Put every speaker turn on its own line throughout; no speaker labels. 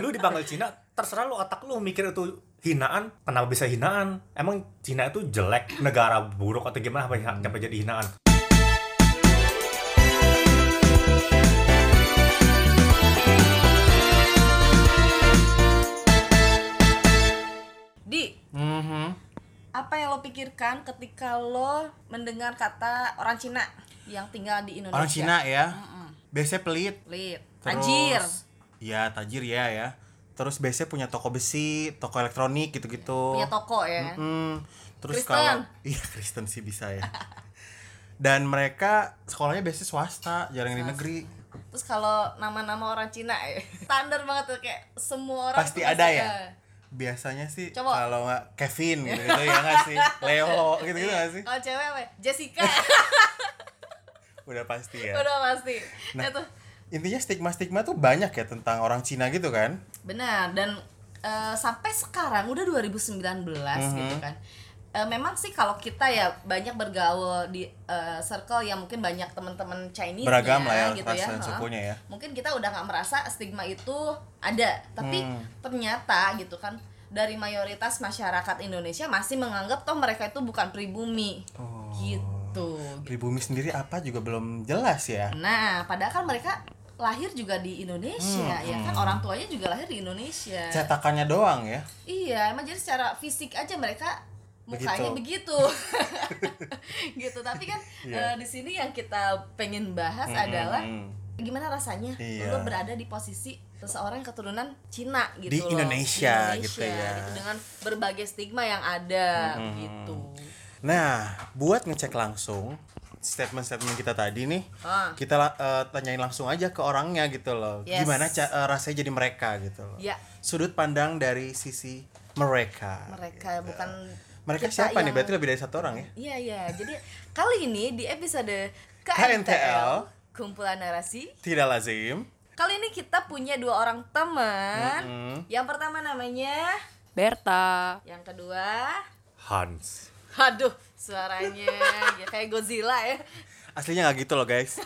lu dipanggil Cina terserah lu otak lu mikir itu hinaan kenapa bisa hinaan emang Cina itu jelek negara buruk atau gimana apa ya? sampai jadi hinaan
Di, apa yang lo pikirkan ketika lo mendengar kata orang Cina yang tinggal di Indonesia?
Orang Cina ya. Biasanya pelit.
Pelit.
Terus-
Anjir.
Ya, tajir ya ya. Terus biasanya punya toko besi, toko elektronik gitu-gitu.
Punya toko ya.
Mm, terus
Kristen.
kalau iya Kristen sih bisa ya. Dan mereka sekolahnya biasanya swasta, jarang di negeri.
Terus kalau nama-nama orang Cina ya, standar banget tuh kayak semua orang
Pasti
tuh
ada
pasti
ya. Biasanya sih
Cowok.
kalau nggak Kevin gitu, gitu ya nggak sih, Leo gitu gitu nggak sih,
Kalau cewek apa? ya? Jessica.
udah pasti ya.
Udah pasti.
Nah.
Itu
Intinya stigma-stigma tuh banyak ya tentang orang Cina gitu kan.
Benar dan eh, sampai sekarang udah 2019
Mm-hmm.
gitu kan. Eh, memang sih kalau kita ya banyak bergaul di eh, circle yang mungkin banyak teman-teman Chinese
Beragam lah ya,
gitu
ras
ya.
dan
heeh.
sukunya ya.
Mungkin kita udah nggak merasa stigma itu ada, tapi
Hmm.
ternyata gitu kan dari mayoritas masyarakat Indonesia masih menganggap toh mereka itu bukan pribumi.
Oh.
Gitu.
Pribumi sendiri apa juga belum jelas ya.
Nah, padahal kan mereka lahir juga di Indonesia
Hmm.
ya kan orang tuanya juga lahir di Indonesia.
Cetakannya doang ya.
Iya, emang jadi secara fisik aja mereka mukanya begitu. gitu. Tapi kan eh,
Iya.
di sini yang kita pengen bahas adalah
Mm.
gimana rasanya
Iya.
lo berada di posisi seseorang keturunan Cina gitu
Di
loh.
Indonesia gitu ya.
dengan berbagai stigma yang ada gitu.
Nah, buat ngecek langsung statement-statement kita tadi nih,
Ah.
kita la- eh, tanyain langsung aja ke orangnya gitu loh.
Yes.
Gimana ca- eh, rasanya jadi mereka gitu loh.
Ya.
Sudut pandang dari sisi mereka.
Mereka bukan
Gitu. Mereka
kita
siapa nih?
yang-
Berarti lebih dari satu orang ya?
Iya iya. Jadi kali ini di episode KNTL,
KNTL.
kumpulan narasi
Tidak lazim.
Kali ini kita punya dua orang teman.
Mm-mm.
Yang pertama namanya
Berta.
Yang kedua,
Hans
aduh suaranya ya kayak Godzilla ya.
Aslinya nggak gitu loh guys.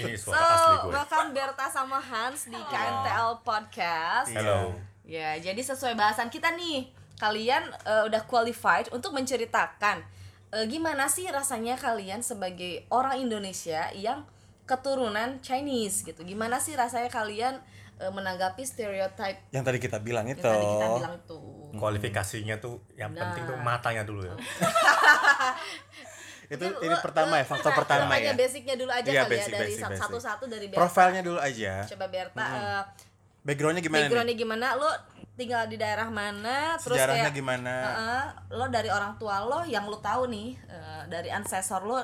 ini
So,
suara asli gue
welcome Berta sama Hans di KNTL Podcast.
hello
Ya, jadi sesuai bahasan kita nih, kalian eh, udah qualified untuk menceritakan eh, gimana sih rasanya kalian sebagai orang Indonesia yang keturunan Chinese gitu. Gimana sih rasanya kalian eh, menanggapi stereotype
Yang tadi kita bilang
yang
itu.
tadi kita bilang itu?
Hmm. kualifikasinya tuh yang
Nah.
penting tuh matanya dulu ya
Itu
Mungkin
ini
lo-
pertama
lo-
ya, faktor
nah,
pertama
makanya
ya.
basicnya dulu aja
Iya,
kali
basic,
ya dari
basic, basic.
satu-satu dari Berta.
Profilnya dulu aja.
Coba Berta eh,
Backgroundnya gimana
backgroundnya
nih?
gimana? Lo tinggal di daerah mana? Terus
Sejarahnya
kayak
gimana?
Heeh, lo dari orang tua lo yang lo tahu nih eh, dari ancestor lo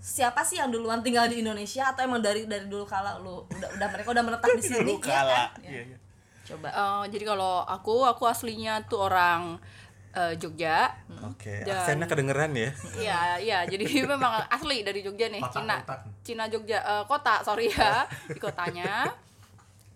siapa sih yang duluan tinggal di Indonesia atau emang dari dari dulu kala lo udah udah mereka udah menetap di sini ya
Dulu
kan?
kala.
Ya.
Iya, iya.
Coba.
Eh, jadi kalau aku, aku aslinya tuh orang eh, Jogja.
Oke,
Dan-
aksennya kedengeran ya.
Iya, iya. Jadi memang asli dari Jogja nih,
Kota,
Cina.
kota.
Cina Jogja eh, kota, sorry ya, di kotanya.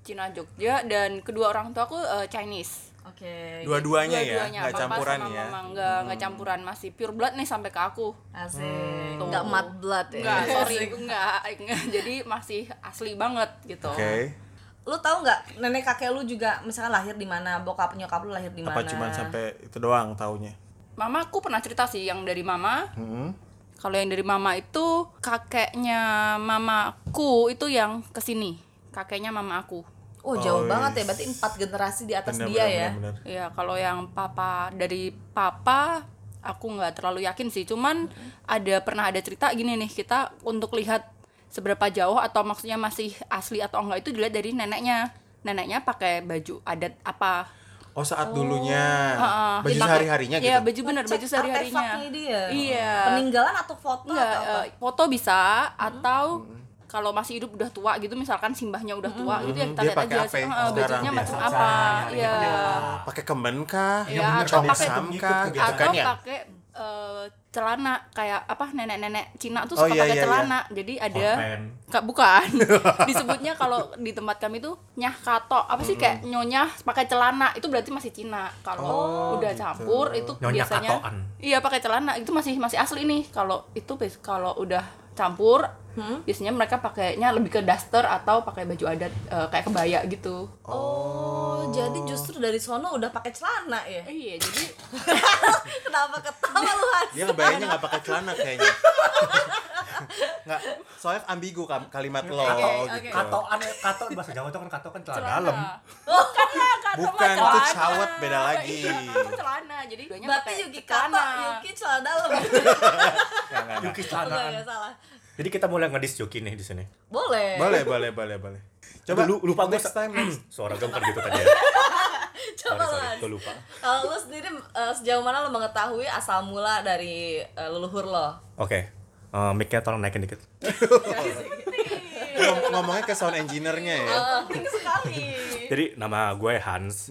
Cina Jogja dan kedua orang tua aku eh, Chinese.
Oke.
Dua-duanya ya,
Dua-duanya,
nggak
papa
campuran
sama
ya.
mama nggak nggak campuran masih pure blood nih sampai ke aku.
Asik. Enggak mat blood ya.
Enggak, sorry, enggak, enggak. Jadi masih asli banget gitu.
Oke.
Lo tahu nggak nenek kakek lu juga misalkan lahir di mana, bokap nyokap lu lahir di mana?
apa cuman sampai itu doang taunya
Mama aku pernah cerita sih yang dari mama.
Hmm.
Kalau yang dari mama itu kakeknya mamaku itu yang kesini. Kakeknya mama aku.
Oh jauh
Oh,
banget ya,
yes.
berarti empat generasi di atas dia ya.
benar,
Ya kalau yang papa dari papa aku nggak terlalu yakin sih. Cuman ada pernah ada cerita gini nih kita untuk lihat seberapa jauh atau maksudnya masih asli atau enggak itu dilihat dari neneknya. Neneknya pakai baju adat apa?
oh saat dulunya
Heeh,
baju
dipakai-
sehari harinya gitu
Iya, baju bener,
Cek
baju sehari-harinya.
artefaknya dia.
Iya.
Peninggalan atau foto
Enggak,
atau apa? Hmm.
eh, foto bisa atau
Hmm.
kalau masih hidup udah tua gitu misalkan simbahnya udah tua
Hmm.
gitu ya kita
Hmm. Dia
lihat
pakai apa
aja
yang
eh,
sekarang gitu.
bajunya
ya?
macam apa. Iya.
Ah, pakai kemben kah
Iya,
Bener,
atau
kan?
pakai-
Sam
ngikut
kah?
kegiatan.
Bukan
Atau
ya?
pakai eh, celana kayak apa nenek-nenek Cina tuh
Oh,
suka
iya,
pakai
iya,
celana. Jadi ada
Korpen.
Ka- bukan. Disebutnya kalau di tempat kami tuh nyah kato. Apa sih kayak nyonya pakai celana. Itu berarti masih Cina. Kalau
Oh, gitu.
udah campur itu
Nyonya
biasanya
katoan.
Iya, pakai celana. Itu masih masih asli nih. Kalau itu bes- kalau udah campur biasanya mereka pakainya lebih ke daster atau pakai baju adat eh, kayak kebaya gitu
Oh, jadi justru dari sono udah pakai celana ya?
iya jadi
Kenapa ketawa lu Han?
Dia ngebayangnya nggak pakai celana kayaknya. Nggak, soalnya ambigu kam- kalimat
Oke,
lo
oke.
gitu.
Katoan, kato bahasa Jawa itu kan kato kan celana
celana.
dalam.
Oh,
bukan lah kata
Bukan,
mah
itu
celana.
cawet, beda lagi.
Iya, kata mah celana jadi duanya
Berarti
pakai
Yuki
celana.
kata Yuki celana dalam.
Nggak, nggak, nggak.
Yuki
Enggak enggak
celanaan.
salah.
Jadi kita mulai ngedis Yuki nih di sini.
Boleh.
Boleh, boleh, boleh, boleh. Coba
Lu- lupa gua
next
se-
time. next.
Suara gue bukan gitu tadi ya.
Coba
Sorry,
lu.
sorry,
Han.
gue lupa.
Kalau lu sendiri eh, sejauh mana lu mengetahui asal mula dari eh, leluhur lo?
Oke. Eh, mic-nya tolong naikin dikit.
Ngom- ngomongnya ke sound engineer-nya ya.
penting sekali.
Jadi nama gue Hans.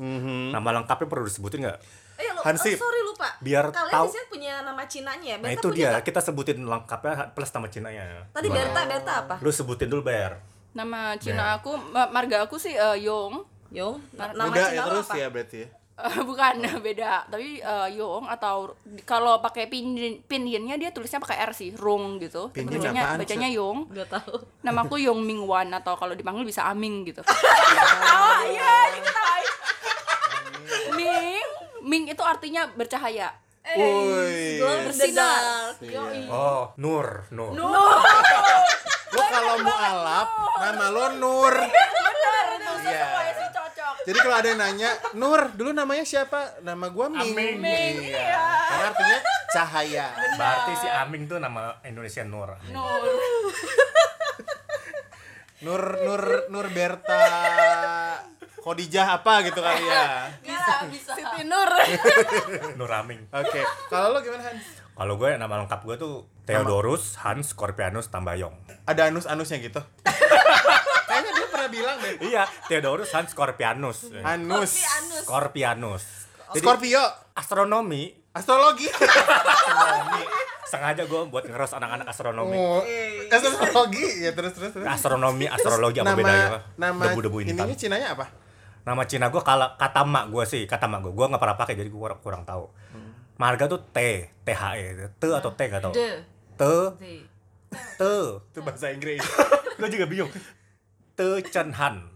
Nama lengkapnya perlu disebutin nggak?
Eh, lu,
Hansip,
oh, sorry lupa.
biar
Kalian
tahu-
di sini punya nama Cinanya ya?
Nah
Berta
itu
punya
dia,
nggak?
kita sebutin lengkapnya plus nama Cinanya.
Tadi
Gimana?
Berta, Berta apa?
Lu sebutin dulu Ber.
nama Cina aku ma- marga aku sih eh, Yong
Yong, na- nama
Udah
Cina
ya
lo
terus
apa?
ya berarti ya.
Eh, bukan beda tapi eh, Yong atau kalau pakai pinyin pinyinnya dia tulisnya pakai R sih Rong gitu Tapi
Pinyin
bacanya
apaan,
bacanya Yong
Gak tahu.
nama aku Yong Ming Wan atau kalau dipanggil bisa Aming gitu oh iya diketawain Ming Ming itu artinya bercahaya
Woi.
Gue Eh, bersinar.
Oh, Nur, Nur.
Lu kalau mualaf nama lo Nur.
bener itu
Iya.
sesuai sih cocok
Jadi kalau ada yang nanya, Nur, dulu namanya siapa? Nama gua Ming.
Aming.
Ming, iya.
Karena artinya cahaya.
Berarti si Aming tuh nama Indonesia Nur.
Nur
Nur Nur Nur Berta Khadijah apa gitu kali ya.
bisa bisa
Siti Nur.
Nur Aming.
Oke, kalau lo gimana Hans?
Kalau gue nama lengkap gue tuh Theodorus Hans Corpianus Tambayong.
Ada anus-anusnya gitu. Kayaknya dia pernah bilang deh.
iya, Theodorus Hans Corpianus.
Anus.
Si Anus.
Corpianus. Jadi
Scorpio.
astronomi
Astrologi.
sengaja gue buat ngeros anak-anak astronomi.
Oh, astrologi ya terus terus terus.
Astronomi, astrologi apa bedanya? Pak?
nama
debu-debu ini.
ininya Cinanya apa?
Nama Cina gue kala kata mak gue sih, kata mak gue. Gue nggak pernah pakai jadi gue kurang, kurang tahu.
Hmm.
Marga tuh T, T H E, T atau T gak tau.
De.
T,
De.
T.
Itu bahasa Inggris.
Gue juga bingung. T Chen Han.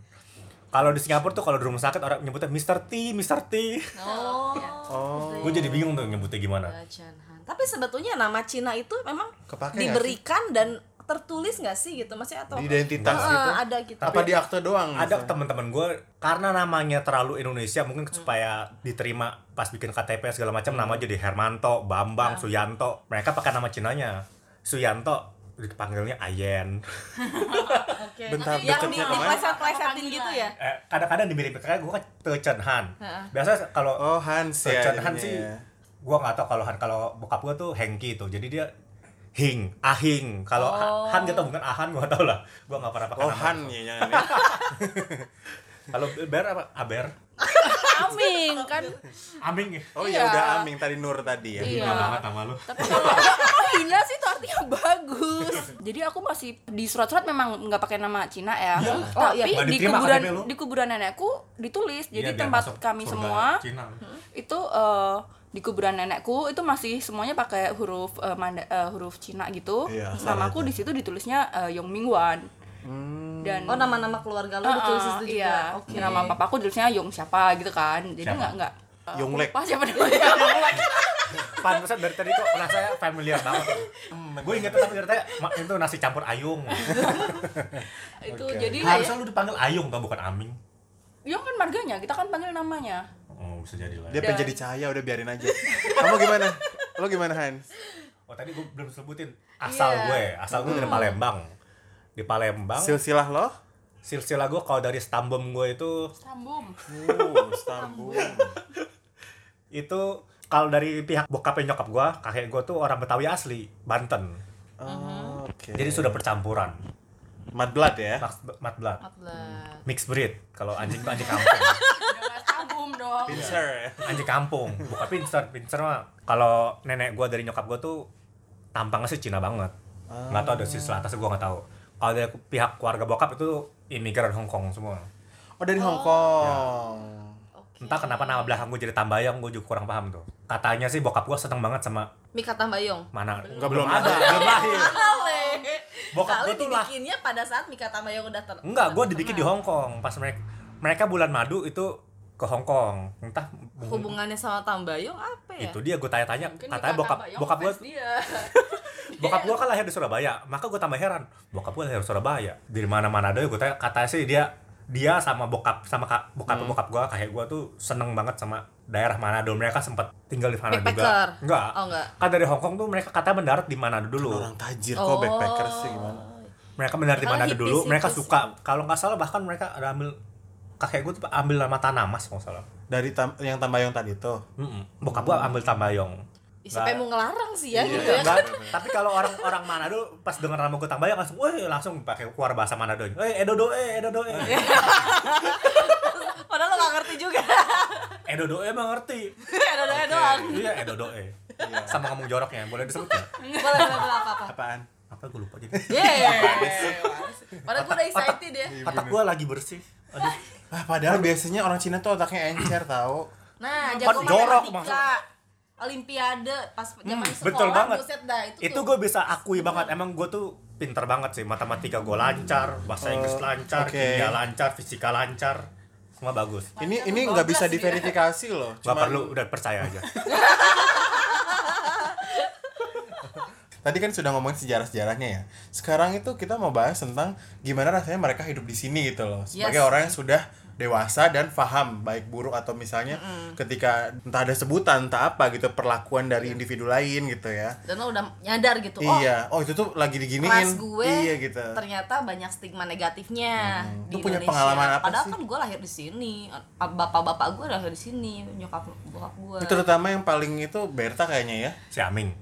Kalau di Singapura tuh kalau di rumah sakit orang nyebutnya Mr. T, Mr. T.
Oh.
Oh.
Gue jadi bingung tuh nyebutnya gimana.
Janhan. Tapi sebetulnya nama Cina itu memang
Kepake nggak
diberikan dan tertulis nggak sih gitu maksudnya atau
Di identitas
Eh,
gitu?
ada gitu.
apa di akte doang?
Ada
misalnya?
teman-teman gue karena namanya terlalu Indonesia mungkin supaya diterima pas bikin KTP segala macam
Hmm.
nama jadi Hermanto, Bambang,
Nah.
Suyanto. Mereka pakai nama Cinanya. Suyanto dipanggilnya Ayen.
Oke.
Bentar,
yang
bentar,
Kan di,
bentar.
dipleset-plesetin gitu ya.
Eh, kadang-kadang dimirip kayak gue kan Teucen Han.
Heeh.
Biasa kalau
Oh, Hans ya.
Teucen Han
jadinya
sih
ya.
gue nggak tahu kalau Han kalau bokap gue tuh Hengki tuh. Jadi dia Hing, Ahing. Kalau
Oh.
Han gitu bukan Ahan gue tau lah. Gue nggak pernah pakai
Oh,
nama.
Han ya jangan ya.
Kalau Ber apa? Aber.
Aming kan
Aming. ya?
Oh
Iya.
ya udah Aming tadi Nur tadi ya.
Iya.
Gila banget sama lu.
tapi kalau kalau Hina sih itu artinya bagus jadi aku masih di surat-surat memang nggak pakai nama Cina ya
Oh, iya.
tapi
Nggak
di
diterima
kuburan
KTP lu.
di kuburan nenekku ditulis jadi
Iya, biar
tempat
masuk
kami
surga
semua
Cina.
itu eh, di kuburan nenekku itu masih semuanya pakai huruf eh, manda- eh, huruf Cina gitu
Iya,
sama
sama
aku di situ ditulisnya eh, Yong Mingwan
Hmm.
dan
Oh nama-nama keluarga lo
eh,
ditulis
eh,
itu juga.
iya.
Oke.
nama papaku ditulisnya Yong siapa gitu kan jadi
Siapa?
nggak nggak eh, aku
Yonglek.
lupa siapa namanya
Pantesan dari tadi kok rasanya familiar banget. gue inget tapi ceritanya "Mak, itu nasi campur ayung.
Iya, itu
Oke.
jadi
Harusnya lu dipanggil ayung kan bukan aming.
Yong kan marganya kita kan panggil namanya
Oh bisa jadi lah.
Dia
ya.
Dan-
pengen jadi cahaya udah biarin aja. Kamu gimana? Lo gimana Hans?
Oh tadi gue belum sebutin asal
Iya.
gue, asal gue
Hmm.
dari Palembang. Di Palembang,
Silsilah lo?
silsilah gue kalau dari Stambum gue itu
Sambung.
Uh, Stambul.
itu kalau dari pihak bokapnya nyokap gue, kakek gue tuh orang Betawi asli, Banten.
Oh, Oke.
Jadi sudah percampuran,
Madblad ya.
mat, mat blood,
Atlet.
mixed breed. Kalau anjing tuh anjing kampung.
Sambung Ya, dong.
Pincer ya.
anjing kampung bukan pincer pincer mah kalau nenek gua dari nyokap gua tuh tampangnya sih Cina banget nggak tahu dari sisi atas gua nggak tahu kalau dari pihak keluarga bokap itu imigran Hong Kong semua
Oh dari Hong Kong.
Oke.
entah kenapa nama belakang gua jadi tambayang gua juga kurang paham tuh katanya sih bokap gua seneng banget sama
Mika Tambayong.
mana
Nggak, belum ada.
belum lahir
Ale.
bokap
Kali
gue tuh lah
dibikinnya pada saat Mika Tamayo udah ter
enggak gue
terkenal.
dibikin di Hong Kong pas mereka mereka bulan madu itu ke Hong Kong entah
Hubungannya sama Tambayong apa ya?
itu dia gue tanya-tanya Iya, katanya bokap bokap gue
dia.
bokap gue kan lahir di Surabaya maka gue tambah heran bokap gue lahir di Surabaya dari mana mana doy gue tanya katanya sih dia dia sama bokap sama kak, bokap
Hmm.
bokap gue kakek gue tuh seneng banget sama daerah Manado mereka sempat tinggal di sana juga
Backpacker.
enggak
Oh enggak.
kan dari Hong Kong tuh mereka katanya mendarat di Manado dulu
orang tajir
Oh.
kok backpacker sih gimana
mereka mendarat di
Karena
Manado dulu
hippies-hippies.
mereka suka kalau nggak salah bahkan mereka ada ambil kakek gue tuh ambil nama tanamas kalau nggak salah
dari tam- yang tambayong tadi tuh
Mm-mm. bokap gue ambil tambayong
Ih, Siapa yang mau ngelarang sih ya
Iya,
gitu ya?
Enggak, tapi kalau orang orang Manado pas dengar nama gue tambayang langsung, wah langsung pakai keluar bahasa Manado. Eh edodo eh edodo eh.
Padahal lo gak ngerti juga.
Edodo eh emang ngerti.
Ada-ada doang.
Iya edodo eh. Sama ngomong joroknya, boleh disebut ya?
Boleh boleh boleh apa-apa.
apaan Iya,
Apa gue lupa jadi.
Iya,
Yeay. Padahal gue udah excited ya.
Otak gue lagi bersih. Aduh.
ah, padahal biasanya orang Cina tuh otaknya encer tahu
Nah,
Kan
jago
jorok
matematika. Olimpiade pas zaman
Hmm,
sekolah
betul banget.
buset dah itu,
Itu
tuh.
gue bisa akui banget. Emang gue tuh pinter banget sih. Matematika gue lancar, bahasa Inggris
Oh,
lancar,
oke.
kimia lancar, fisika lancar. Semua bagus.
ini
Panjang
ini
tuh
nggak bisa
bagas dia.
diverifikasi loh
Gak
Cuman-
perlu, udah percaya aja.
tadi kan sudah ngomongin sejarah-sejarahnya ya. Sekarang itu kita mau bahas tentang gimana rasanya mereka hidup di sini gitu loh. Sebagai
Yes.
orang yang sudah dewasa dan paham baik buruk atau misalnya ketika entah ada sebutan entah apa gitu perlakuan dari individu lain gitu ya.
Dan lo udah nyadar gitu. Iya. Oh,
Iya. Oh, itu tuh lagi diginiin.
ras gue
iya gitu.
ternyata banyak stigma negatifnya
Hmm.
di
Lu punya
Indonesia.
pengalaman apa
Padahal
sih?
kan gue lahir di sini, bapak-bapak gue lahir di sini, nyokap bokap gue.
Itu terutama yang paling itu Berta kayaknya ya.
Si Aming.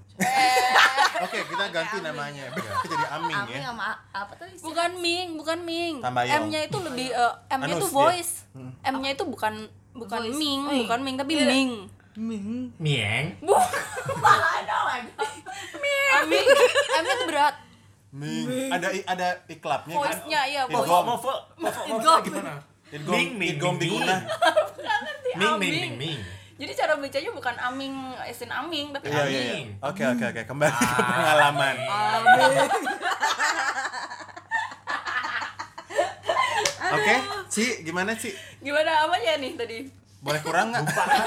Oke, kita ganti namanya. Berta jadi Aming
Ami
ya.
sama A- apa tadi? sih?
Bukan Ming, bukan Ming.
Tambayong.
M-nya itu lebih eh, M-nya itu
Anus dia.
voice.
Hmm.
M-nya itu bukan bukan
Voice.
Ming,
Ming.
bukan Ming tapi
Iya.
Ming.
Mieng.
Ah, Ming. M-nya itu berat.
Ming. Ada i- ada iklapnya kan.
Voice-nya iya,
Iya,
voice.
Gom.
Mau vo, mau vo, mau vo gimana?
Idgom- Idgom Diguna.
Ming,
Aming.
ming, ming, ming.
Jadi cara bacanya bukan Aming, esin Aming tapi
Iya, iya, iya.
Aming.
Oke, oke, oke. Kembali
Ah,
ke pengalaman. Oke, Ci, gimana Ci?
Gimana amanya nih tadi?
Boleh kurang nggak? Lupa kan?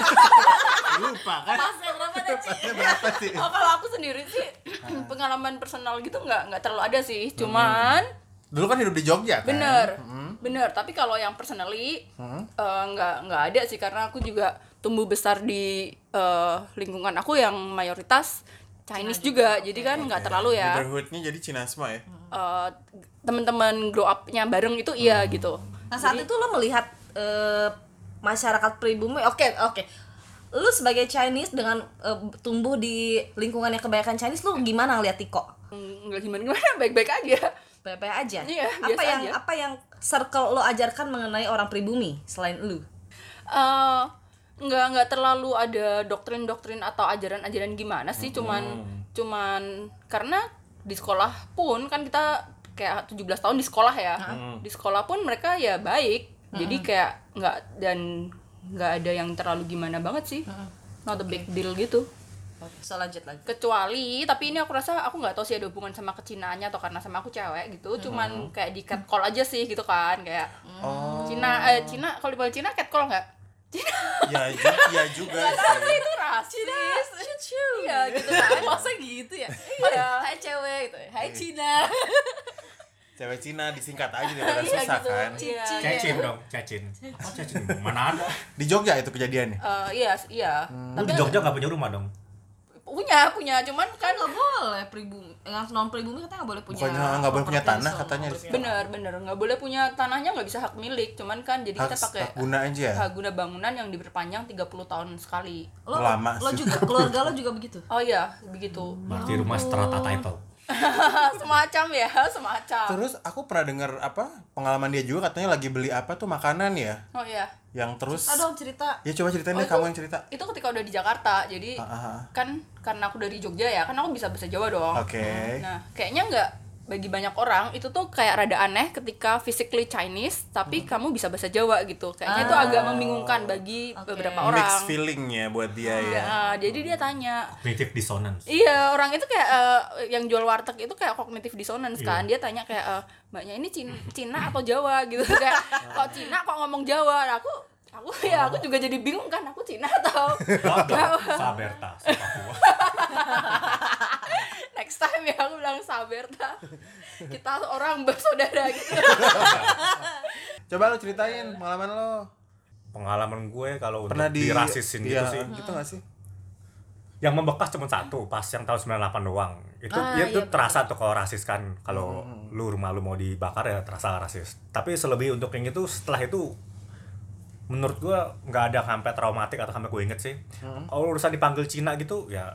Lupa kan?
Pasnya berapa tadi?
Ini berapa sih?
Oh, kalau aku sendiri sih
Ah.
pengalaman personal gitu nggak nggak terlalu ada
Hmm.
sih. Cuman
Dulu kan hidup di Jogja kan?
Bener, bener. Tapi kalau yang personally eh, nggak nggak ada sih karena aku juga tumbuh besar di eh, lingkungan aku yang mayoritas Chinese juga, jadi kan nggak terlalu ya.
Neighborhoodnya jadi Cina semua ya?
Eh, teman-teman grow upnya bareng itu iya gitu.
Nah saat itu lo melihat eh, masyarakat pribumi, oke oke, Lu sebagai Chinese dengan eh, tumbuh di lingkungan yang kebanyakan Chinese, lu gimana ngeliat Tiko?
Nggak gimana gimana, baik-baik aja.
PP aja.
Iya,
apa
biasa
yang
aja.
apa yang circle lo ajarkan mengenai orang pribumi selain lu?
eh nggak nggak terlalu ada doktrin-doktrin atau ajaran-ajaran gimana sih cuman cuman karena di sekolah pun kan kita kayak 17 tahun di sekolah ya di sekolah pun mereka ya baik jadi kayak nggak dan nggak ada yang terlalu gimana banget sih not a big deal gitu
So lanjut lagi.
kecuali tapi ini aku rasa aku nggak tahu sih ada hubungan sama kecinaannya atau karena sama aku cewek gitu cuman kayak di catcall aja sih gitu kan kayak
Oh,
Cina eh Cina kalau dipanggil Cina catcall nggak
ya, ju- ya juga
Tapi
sih.
itu rasis
Iya gitu kan. Masa gitu ya? Iya. Hai cewek gitu.
Iya.
Hai Cina.
Cewek Cina disingkat aja daripada
Iya,
susah
gitu.
kan?
Iya.
Cacin dong, cacin. Apa cacin? Mana ada?
Di Jogja itu kejadiannya?
Eh, iya iya
Hmm.
Lu di Jogja gak punya rumah dong?
punya punya cuman
Kan
kan
nggak boleh pribumi, nggak non pribumi katanya nggak boleh punya.
Bukannya nggak boleh punya
properti
tanah
sama-
katanya di-
bener bener nggak boleh punya tanahnya nggak bisa hak milik cuman kan jadi kita
Harus
pakai
tak guna aja. ya?
hak guna bangunan yang diperpanjang 30 tahun sekali
Lo,
Lama
lo
sih.
juga keluarga lo juga begitu.
oh iya begitu
Hmm.
Berarti rumah strata title.
semacam ya semacam
Terus aku pernah dengar apa pengalaman dia juga katanya lagi beli apa tuh makanan ya,
oh iya
yang terus
Aduh cerita.
ya coba ceritain
Oh,
deh
itu-
kamu yang cerita.
itu ketika udah di Jakarta jadi
Ah, ah, ah.
kan karena aku dari Jogja ya kan aku bisa bahasa Jawa dong
Oke.
Nah, kayaknya nggak bagi banyak orang itu tuh kayak rada aneh ketika physically Chinese tapi kamu bisa bahasa Jawa gitu. Kayaknya itu agak membingungkan bagi
Oke.
beberapa
Mixed
orang.
mixed feelingnya buat dia ya
Ya, jadi dia tanya,
Cognitive dissonance.
Iya, orang itu kayak eh, yang jual warteg itu kayak kognitif dissonance kan. Dia tanya kayak eh, mbaknya ini Cin- Cina atau Jawa gitu kayak kok Cina kok ngomong Jawa. Nah, aku aku ya aku juga jadi bingung kan aku Cina atau
Waduh, Saberta, Papua.
next time ya aku bilang Saberta. Kita orang bersaudara gitu.
coba lo ceritain pengalaman lo
Pengalaman gue kalau untuk
pernah di
dirasisin gitu
Iya,
sih.
gitu gak sih
Yang membekas cuma satu, pas yang tahun 98 doang. Itu
Ah,
ya itu
iya,
terasa tuh kalau rasis kan. Kalau lu rumah lu mau dibakar ya terasa rasis. Tapi selebih untuk yang itu setelah itu menurut gua nggak ada sampai traumatik atau sampai gue inget sih. Kalau urusan dipanggil Cina gitu ya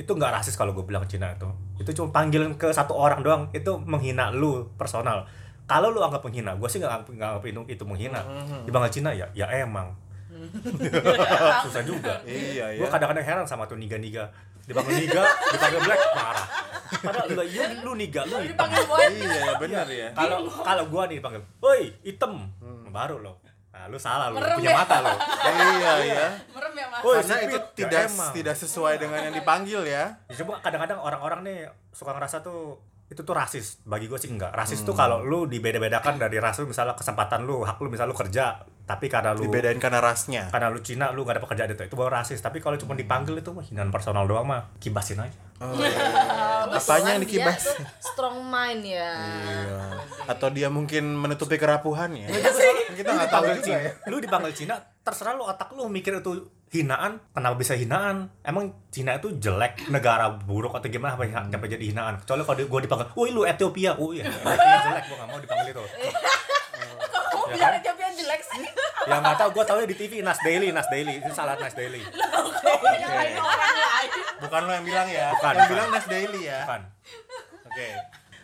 itu nggak rasis kalau gue bilang Cina itu. Itu cuma panggilan ke satu orang doang itu menghina lu personal. Kalau lu anggap menghina, gue sih nggak anggap, nggak anggap itu, itu menghina. Dipanggil Cina ya, ya emang susah juga.
iya
Gue
ya
kadang-kadang heran sama tuh niga-niga Dipanggil niga, dipanggil black, marah Padahal enggak, iya lu niga, lu hitam
Dipanggil buat
iya benar ya
Kalau kalau gua nih dipanggil, woi hitam
Hmm.
Baru lo, nah lu salah lo,
Merem
punya
ya?
mata lo
iya ya
merem ya Mas.
Woi,
karena
sipit.
itu
Ya
tidak
emang.
tidak sesuai dengan yang dipanggil ya
Ya, Coba kadang-kadang orang-orang nih suka ngerasa tuh itu tuh rasis bagi gue sih enggak rasis
Hmm.
tuh kalau lu dibeda-bedakan dari ras lu misalnya kesempatan lu hak lu misalnya lu kerja tapi karena lu
dibedain karena rasnya
karena lu Cina lu gak ada pekerjaan itu itu baru rasis tapi kalau cuma dipanggil itu mah hinaan personal doang mah kibasin aja
Apanya
Kebetulan
yang dikibas?
dia tuh strong mind ya.
Iya. atau dia mungkin menutupi kerapuhan ya kita nggak tahu
dipanggil
juga
Cina,
ya
lu dipanggil Cina, terserah lu otak lu mikir itu hinaan, kenapa bisa hinaan? Emang Cina itu jelek, negara buruk atau gimana apa sampai jadi hinaan? Kecuali kalau di- gua dipanggil, "Woi lu Ethiopia." Oh iya, Ethiopia jelek, gua gak mau dipanggil itu. Oh. kan?
Kamu bilang Ethiopia jelek sih.
Ya nggak tahu, gua tahu di TV Nas Daily, Nas Daily. Itu salah Nas Daily.
Yang lain orang lain.
bukan lo yang bilang ya
Bukan,
yang
bukan.
bilang Nas Daily ya
Bukan.
oke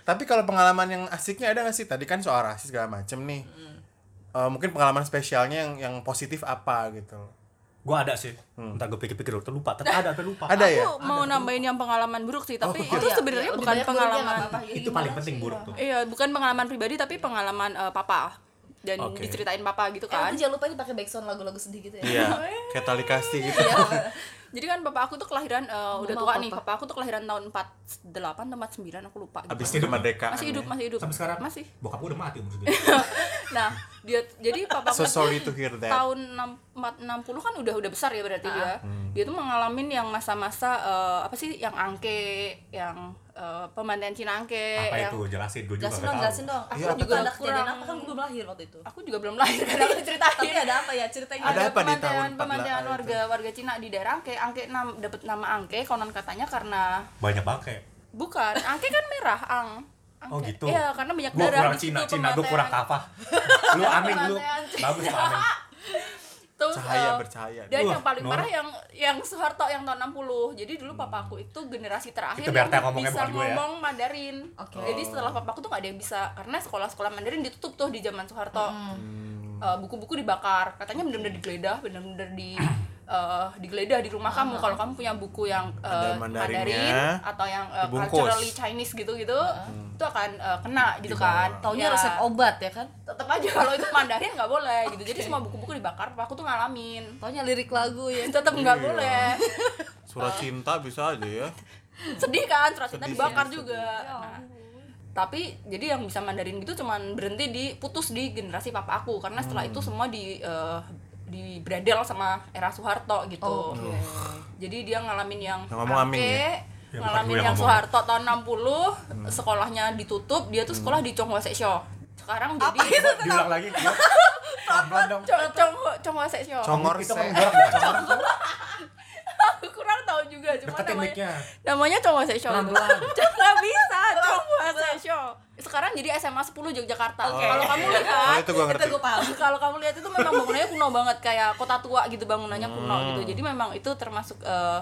tapi kalau pengalaman yang asiknya ada nggak sih tadi kan soal rasis segala macem nih Eh, mungkin pengalaman spesialnya yang yang positif apa gitu
Gua ada sih. Entar gua pikir-pikir dulu, terlupa. Tapi ada, terlupa.
ada ya
Aku mau nambahin yang pengalaman buruk sih, tapi itu
Iya,
sebenarnya
iya,
bukan
lebih banyak buruknya nggak
pengalaman
apa-apa.
Itu
Ya, gimana
paling penting
sih?
buruk tuh.
Iya, bukan pengalaman pribadi tapi pengalaman eh, papa dan
Oke.
diceritain papa
Eh,
gitu kan.
nanti jangan lupa ini pakai backsound lagu-lagu sedih gitu ya.
iya kayak tali kasih gitu
Iya. Jadi kan papa aku tuh kelahiran eh, udah
Mama,
tua
papa.
nih. Papa aku tuh kelahiran tahun 48 atau 49 aku lupa. gitu.
abis itu merdeka
Masih hidup, masih hidup.
Sampai sekarang
masih.
Bokap gua udah mati umur segitu.
Nah, dia jadi papa aku
so
tuh
sorry to hear that
tahun 6 4 60 kan udah udah besar ya berarti dia. Dia tuh mengalami yang masa-masa eh, apa sih yang angke, yang eh, pemandian Cina angke,
Apa
yang
itu? Jelasin gua juga
Jelasin
nggak
dong,
tahu.
jelasin dong. Aku
Iya, apa
juga
tuh?
ada kejadian
Kurang-
apa kan gue belum lahir waktu itu.
aku juga belum lahir kan aku ceritain.
Tapi ada apa ya ceritanya?
Ada
ada,
apa di tahun
pemantian
14
pemantian
itu?
warga warga Cina di daerah Angke Angke nam dapat nama Angke konon katanya karena
Banyak banget kayak
bukan Angke kan merah Ang Angke.
Oh, gitu.
iya karena banyak
gua
darah
kurang
di
Cina,
situ
Cina gua
pemantian.
kurang apa lu amin lu bagus Pak amin
Terus,
Cahaya,
eh,
bercahaya.
dan
Wah,
yang paling
Nora.
parah yang yang Soeharto yang tahun 60 jadi dulu papa aku itu generasi terakhir
Itu biar teh
yang
ngomongnya
bisa
bukan gue ya.
ngomong Mandarin
Oke.
jadi setelah papa aku tuh gak ada yang bisa karena sekolah-sekolah Mandarin ditutup tuh di zaman Soeharto Eh, buku-buku dibakar katanya benar-benar digeledah benar-benar di eh, digeledah di rumah kamu kalau kamu punya buku yang eh,
Ada Mandarinnya,
Mandarin atau yang eh,
dibungkus.
culturally Chinese gitu-gitu itu akan eh, kena gitu kan
Taunya
Ya
resep obat ya kan?
tetap aja kalau itu Mandarin nggak boleh gitu jadi semua buku-buku dibakar Papa aku tuh ngalamin
Taunya lirik lagu ya.
tetap nggak
Iya.
boleh
surat cinta bisa aja ya
sedih kan surat cinta
Sedih.
dibakar juga Nah, tapi jadi yang bisa Mandarin gitu cuman berhenti di putus di generasi papa aku karena
Hmm.
setelah itu semua di eh, di bradel sama era Soeharto gitu
Oke.
jadi dia ngalamin yang
Oh, Yang ngomong amin
Ake,
ya?
Ya, bukan
ngalamin
gue yang
yang
ngomong.
Soeharto tahun
Hmm.
60 sekolahnya ditutup dia tuh sekolah di Chonghua Seisho sekarang jadi
diulang lagi pelan dong
Chong- Chonghua Chonghua Seisho
congor
itu kan
saya
borak bukan congor
Aku kurang tahu juga cuma
deketin
namanya
mic-nya
namanya cowok sesio
Pelan-pelan.
nggak bisa cowok sesio sekarang jadi SMA 10 Yogyakarta kalau kamu
oh,
lihat
itu gua ngerti
Itu gue paham.
kalau kamu lihat itu memang bangunannya kuno banget kayak kota tua gitu bangunannya kuno gitu jadi memang itu termasuk eh,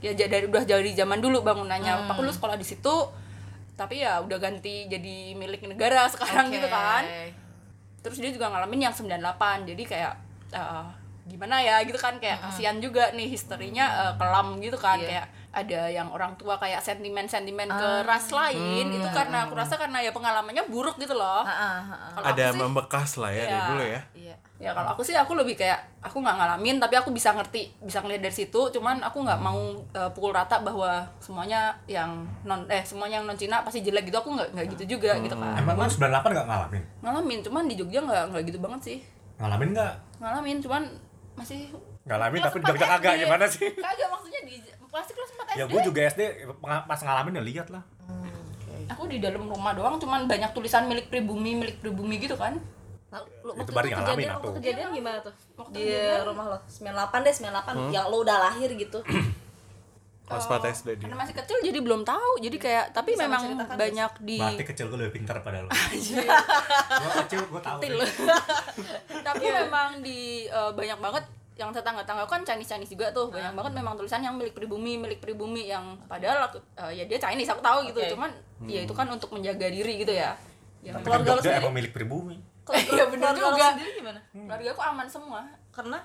ya ja- dari udah dari zaman dulu bangunannya Pak lu sekolah di situ tapi ya udah ganti jadi milik negara sekarang gitu kan terus dia juga ngalamin yang 98 jadi kayak eh, gimana ya gitu kan kayak kasihan juga nih historinya eh, kelam gitu kan
Iya. Ah.
kayak ada yang orang tua kayak sentimen-sentimen ke ras lain itu karena aku rasa karena ya pengalamannya buruk gitu loh.
Hmm. Ah, ah, ah.
Kalau aku
Ada
sih-
membekas lah ya dari
Iya.
dulu ya.
Iya.
ya kalau aku sih aku lebih kayak aku nggak ngalamin tapi aku bisa ngerti bisa ngeliat dari situ cuman aku nggak mau eh, pukul rata bahwa semuanya yang non eh semuanya yang non Cina pasti jelek gitu aku nggak nggak gitu juga gitu kan
Emang lu 98 nggak ngalamin?
ngalamin cuman di Jogja nggak nggak gitu banget sih
Ngalamin nggak?
ngalamin cuman masih
Ngalamin
Kelas
tapi di
empat
Jogja
SD.
kagak gimana sih?
kagak maksudnya di pasti kelas 4 SD
Ya gue juga SD peng- pas ngalamin ya lihat lah.
aku di dalam rumah doang cuman banyak tulisan milik pribumi milik pribumi gitu kan
Lalu,
Ya,
lu-
Itu
waktu
baru ngalamin,
kejadian,
atuh.
waktu kejadian gimana tuh?
Waktu
di
kejadian.
rumah lo 98 deh 98
Hmm.
yang lo udah lahir gitu.
Kelas
Kalau-
4 SD dia.
karena masih kecil jadi belum tahu jadi kayak tapi
Bisa
memang
menceritakan,
banyak di
Berarti kecil gue lebih pintar pada lu. Gue kecil gue tahu.
Til. Tapi
Iya.
memang di eh, banyak banget yang tetangga-tetangga aku kan Chinese-Chinese juga tuh.
Ah.
Banyak banget memang tulisan yang milik pribumi, milik pribumi yang padahal aku- eh, ya dia Chinese aku tahu gitu.
Oke.
Cuman ya itu kan
Hmm.
untuk menjaga diri gitu ya. Ya,
Tapi kan
memang-
Keluarga lu
Jogja
sendiri?
emang milik pribumi.
Iya, bener
Keluarga lo
juga.
sendiri gimana?
Hmm.
keluarga aku aman semua.
Karena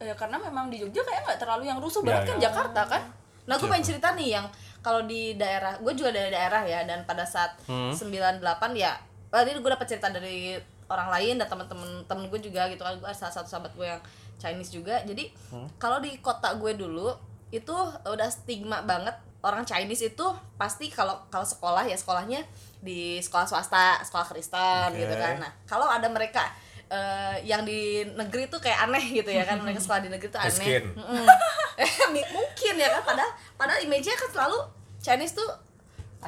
Ya karena memang di Jogja kayak nggak terlalu yang rusuh
Ya,
banget kan
ya.
Jakarta kan.
Nah, gue pengen cerita nih yang kalau di daerah, gue juga dari daerah ya, dan pada saat 98 ya, tadi gue dapat cerita dari orang lain dan teman-teman temen gue juga gitu kan, gue ada salah satu sahabat gue yang Chinese juga. Jadi kalau di kota gue dulu itu udah stigma banget orang Chinese itu pasti kalau kalau sekolah ya sekolahnya di sekolah swasta, sekolah Kristen gitu
Oke.
kan. Nah, kalau ada mereka eh, yang di negeri tuh kayak aneh gitu ya kan mereka sekolah di negeri tuh aneh
Miskin.
Mm. Mi- mungkin ya kan padahal padahal image-nya kan selalu Chinese tuh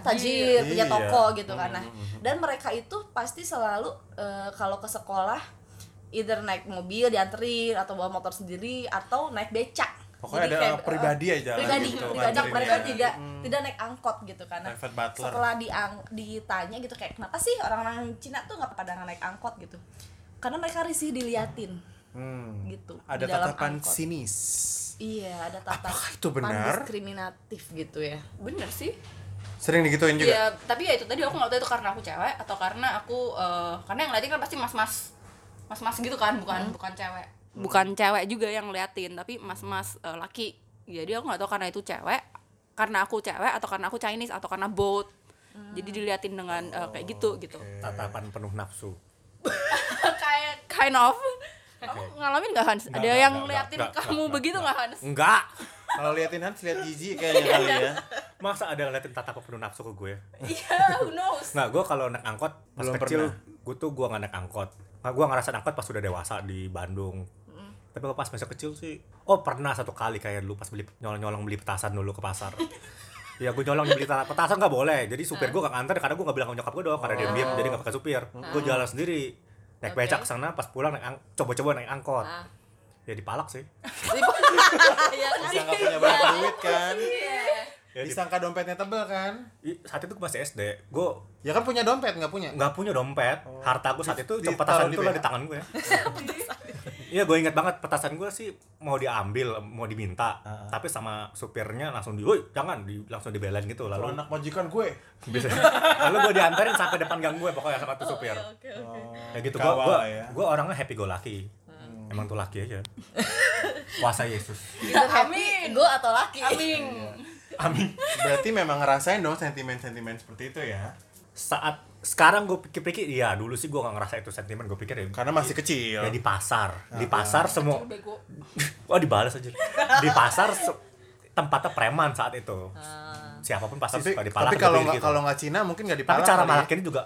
tajir, punya
Iya.
toko gitu kan nah dan mereka itu pasti selalu eh, kalau ke sekolah either naik mobil dianterin atau bawa motor sendiri atau naik becak
Pokoknya
Jadi
ada
kayak, eh,
pribadi aja lah
pribadi
gitu,
pribadi
nganterin
mereka
ya.
tidak tidak naik angkot gitu kan Nah,
Private butler.
setelah diang- ditanya gitu kayak kenapa sih orang-orang Cina tuh nggak pada naik angkot gitu karena mereka risih diliatin
Hmm.
gitu di
Ada
dalam
tatapan
angkot.
sinis.
Iya, ada tatapan
Apakah itu benar?
diskriminatif gitu ya.
Bener sih.
Sering digituin juga.
Iya, tapi ya itu tadi aku nggak tahu itu karena aku cewek atau karena aku eh, karena yang ngeliatin kan pasti mas-mas mas-mas gitu kan, bukan bukan cewek. Bukan cewek juga yang ngeliatin, tapi mas-mas eh, laki. Jadi aku nggak tahu karena itu cewek, karena aku cewek atau karena aku Chinese atau karena both. Jadi diliatin dengan eh, kayak
Oh,
gitu gitu.
Tatapan penuh nafsu.
kayak kind of. Kamu ngalamin nggak Hans?
Nggak, nggak,
Ada yang
nggak,
ngeliatin
nggak, nggak,
kamu
nggak,
begitu nggak Hans?
Enggak.
Kalau liatin Hans lihat jijik kayaknya kali ya.
Masa ada ngeliatin tatapan penuh nafsu ke gue?
Iya, who knows.
Nah, gue kalau naik angkot pas
Belum
kecil,
pernah.
gue tuh gue nggak naik angkot. Nah, gue ngerasa angkot pas udah dewasa di Bandung. Tapi kalau pas masa kecil sih, oh pernah satu kali kayak dulu pas beli nyolong-nyolong beli petasan dulu ke pasar. ya gue nyolong beli peta- petasan nggak boleh. Jadi supir
Ah.
gue gak nganter karena gue nggak bilang sama nyokap gue doang karena dia
Oh.
diem jadi nggak pakai supir. Gue jalan sendiri naik
Oke.
becak ke sana pas pulang naik ang- coba-coba naik angkot.
Ah.
Ya dipalak sih.
Ah,
Iya kan?
Disangka punya banyak duit kan.
Ya, di-
Disangka dompetnya tebel kan.
i- saat itu gue masih SD, gue
Ya kan punya dompet nggak punya?
nggak punya dompet harta gue saat itu
Oh. Di-
cuma petasan
ditaruh di
itu lah
BH.
di tangan gue iya gue ingat banget petasan gue sih mau diambil mau diminta
Ah.
tapi sama supirnya langsung di "Woi, jangan di, langsung dibelain gitu
Kalau
lalu
anak majikan gue.
bisa lalu gue diantarin sampai depan gang gue pokoknya sama tuh supir
Oh, Oke, oke.
ya gitu gue
Kawal
gue
lah ya. Hmm.
gue orangnya happy go lucky emang tuh laki aja kuasa Yesus
Either happy,
iya. Amin.
Gue atau laki.
Amin.
amin
Berarti memang ngerasain dong sentimen-sentimen seperti itu ya.
saat sekarang gue pikir-pikir iya dulu sih gue nggak ngerasa itu sentimen gue pikir ya
Karena Ah, iya. masih kecil.
ya di pasar di pasar semua
Bego.
Oh dibalas aja. Di pasar se- tempatnya preman saat itu.
Ah.
Siapapun pasti
tapi
suka dipalak
tapi
gitu,
kalau
gitu.
nggak kalau nggak Cina mungkin nggak
tapi
dipalak.
cara
kali ya.
malakin juga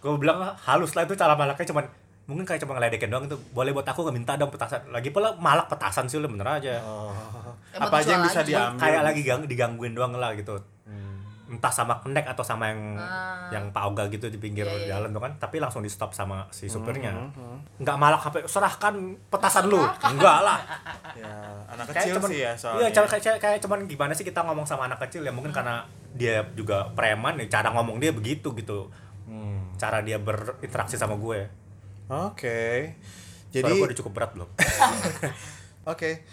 gue bilang "Ah, halus lah itu cara malaknya cuman mungkin kayak cuma ngeledekin doang itu boleh buat aku gak minta dong petasan lagi pula malak petasan sih lu bener aja
Oh.
Emang
Apa aja yang
jual
bisa
aja.
Cuman
diambil? Hmm.
kayak lagi gang, digangguin doang lah gitu entah sama kenek atau sama yang
Ah.
yang pak Oga gitu di pinggir
Iya, iya, iya.
jalan tuh kan tapi langsung di stop sama si supirnya
Hmm,
nggak malak sampai serahkan petasan lu enggak lah
Ya, anak
Kayak
kecil
cuman-
sih ya soalnya.
Iya, cuman- kayak, kayak, kayak cuman gimana sih kita ngomong sama anak kecil ya mungkin karena dia juga preman ya cara ngomong dia begitu gitu. Cara dia berinteraksi sama gue.
Oke.
Jadi
Jadi
gue udah cukup berat belum?
Oke.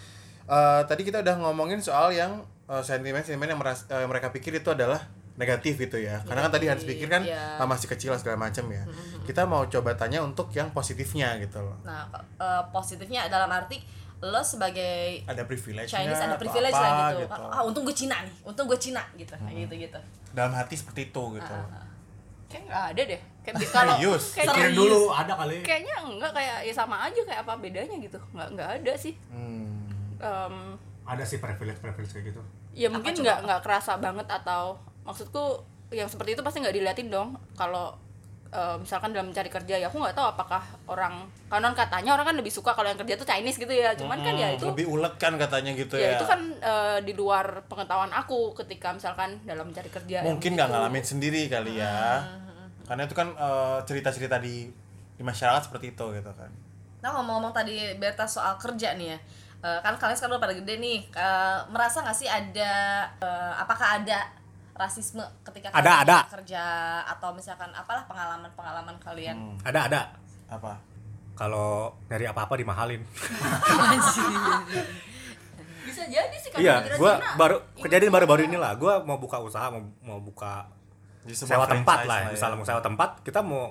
Eh, tadi kita udah ngomongin soal yang eh, sentimen-sentimen yang, meras- eh, mereka pikir itu adalah negatif gitu ya. Karena kan tadi Hans pikir kan
Iya.
ah, masih kecil lah segala macam ya.
Mm-hmm,
Kita mau coba tanya untuk yang positifnya gitu loh.
Nah, eh, positifnya dalam arti lo sebagai
ada privilege
Chinese ada privilege lah gitu. Ah, untung gue Cina nih, untung gue Cina gitu, kayak gitu-gitu.
dalam hati seperti itu gitu
Ah, kayak nggak ada deh kayak bi- kalau
Serius?
kayak
Pikirin
serius.
dulu ada kali.
kayaknya enggak kayak ya sama aja kayak apa bedanya gitu nggak nggak ada sih
Hmm.
Em,
Ada sih privilege-privilege kayak gitu.
ya mungkin nggak nggak kerasa banget atau maksudku yang seperti itu pasti nggak diliatin dong kalau eh, misalkan dalam mencari kerja ya aku nggak tahu apakah orang kanon katanya orang kan lebih suka kalau yang kerja tuh Chinese gitu ya cuman kan ya itu
lebih ulet kan katanya gitu
ya
ya,
itu kan eh, di luar pengetahuan aku ketika misalkan dalam mencari kerja yang
mungkin nggak
gitu. Ah,
ngalamin sendiri kali ya karena itu kan eh, cerita-cerita di di masyarakat seperti itu gitu kan
Nah ngomong-ngomong tadi Berta soal kerja nih ya Eh, Kan kalian sekarang udah pada gede nih eh, Merasa gak sih ada eh, Apakah ada rasisme ketika
Ada,
kalian
ada.
kerja Atau misalkan apalah pengalaman-pengalaman kalian
Hmm. Ada ada.
apa
Kalau nyari apa-apa dimahalin.
bisa jadi sih kalau
Iya,
dikira
gua
Cina.
baru kejadian baru-baru ini lah. Gua mau buka usaha, mau mau buka
Jadi
sewa
sebuah
tempat
franchise
lah.
ya.
Misalnya mau sewa tempat, kita mau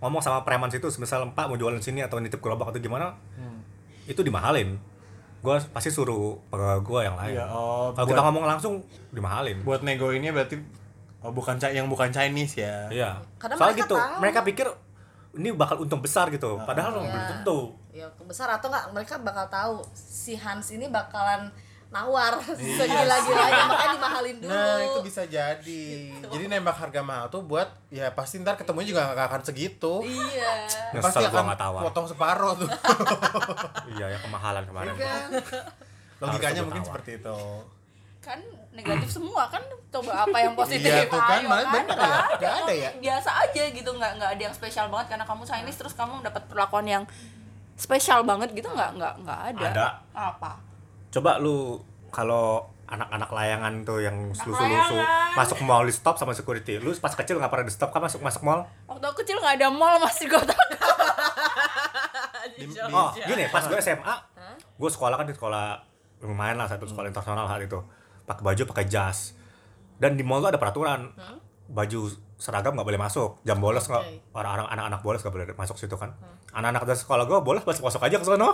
ngomong sama preman situ, misalnya Pak mau jualan sini atau nitip gerobak atau gimana,
Hmm.
itu dimahalin. Gua pasti suruh pegawai gua yang lain.
Iya, oh,
Kalau
buat-
kita ngomong langsung dimahalin.
buat nego ini berarti oh, bukan Chi- yang bukan Chinese ya
Iya.
Karena
Soal
mereka
gitu,
tahu.
mereka pikir ini bakal untung besar gitu.
Ah, iya.
Padahal belum tentu.
Ya besar atau nggak mereka bakal tahu Si Hans ini bakalan nawar Segila-gilanya makanya dimahalin dulu
Iya. Nah itu bisa jadi Jadi nembak harga mahal tuh buat Ya pasti ntar ketemunya juga gak akan segitu
Iya
Pasti
Nyesel gua
akan
nggak tawar.
potong separuh tuh
Iya, ya kemahalan kemarin.
kan?
Logikanya
Harus
mungkin
tawar.
seperti itu
kan negatif semua kan coba apa yang positif
Iya tuh kan
Ayo,
malah
kan?
bener ya Gak ada ya
biasa aja gitu nggak nggak ada yang spesial banget karena kamu Chinese terus kamu dapat perlakuan yang spesial banget gitu nggak nggak nggak ada.
Ada.
apa
Coba lu kalau anak-anak layangan tuh yang lusu-lusu
layangan.
masuk mall di stop sama security. Lu pas kecil nggak pernah di stop kan masuk masuk mall?
waktu aku kecil nggak ada mall masih kotak
Iya.
Oh, gini, pas gue SMA, gue sekolah kan di sekolah lumayan lah satu sekolah internasional saat itu. Pakai baju, pakai jas. Dan di mall tuh ada peraturan. Baju seragam nggak boleh masuk. Jam bolos nggak
Oke.
orang-orang anak-anak bolos nggak boleh masuk situ kan. Anak-anak dari sekolah gue bolos masuk-masuk aja ke sono.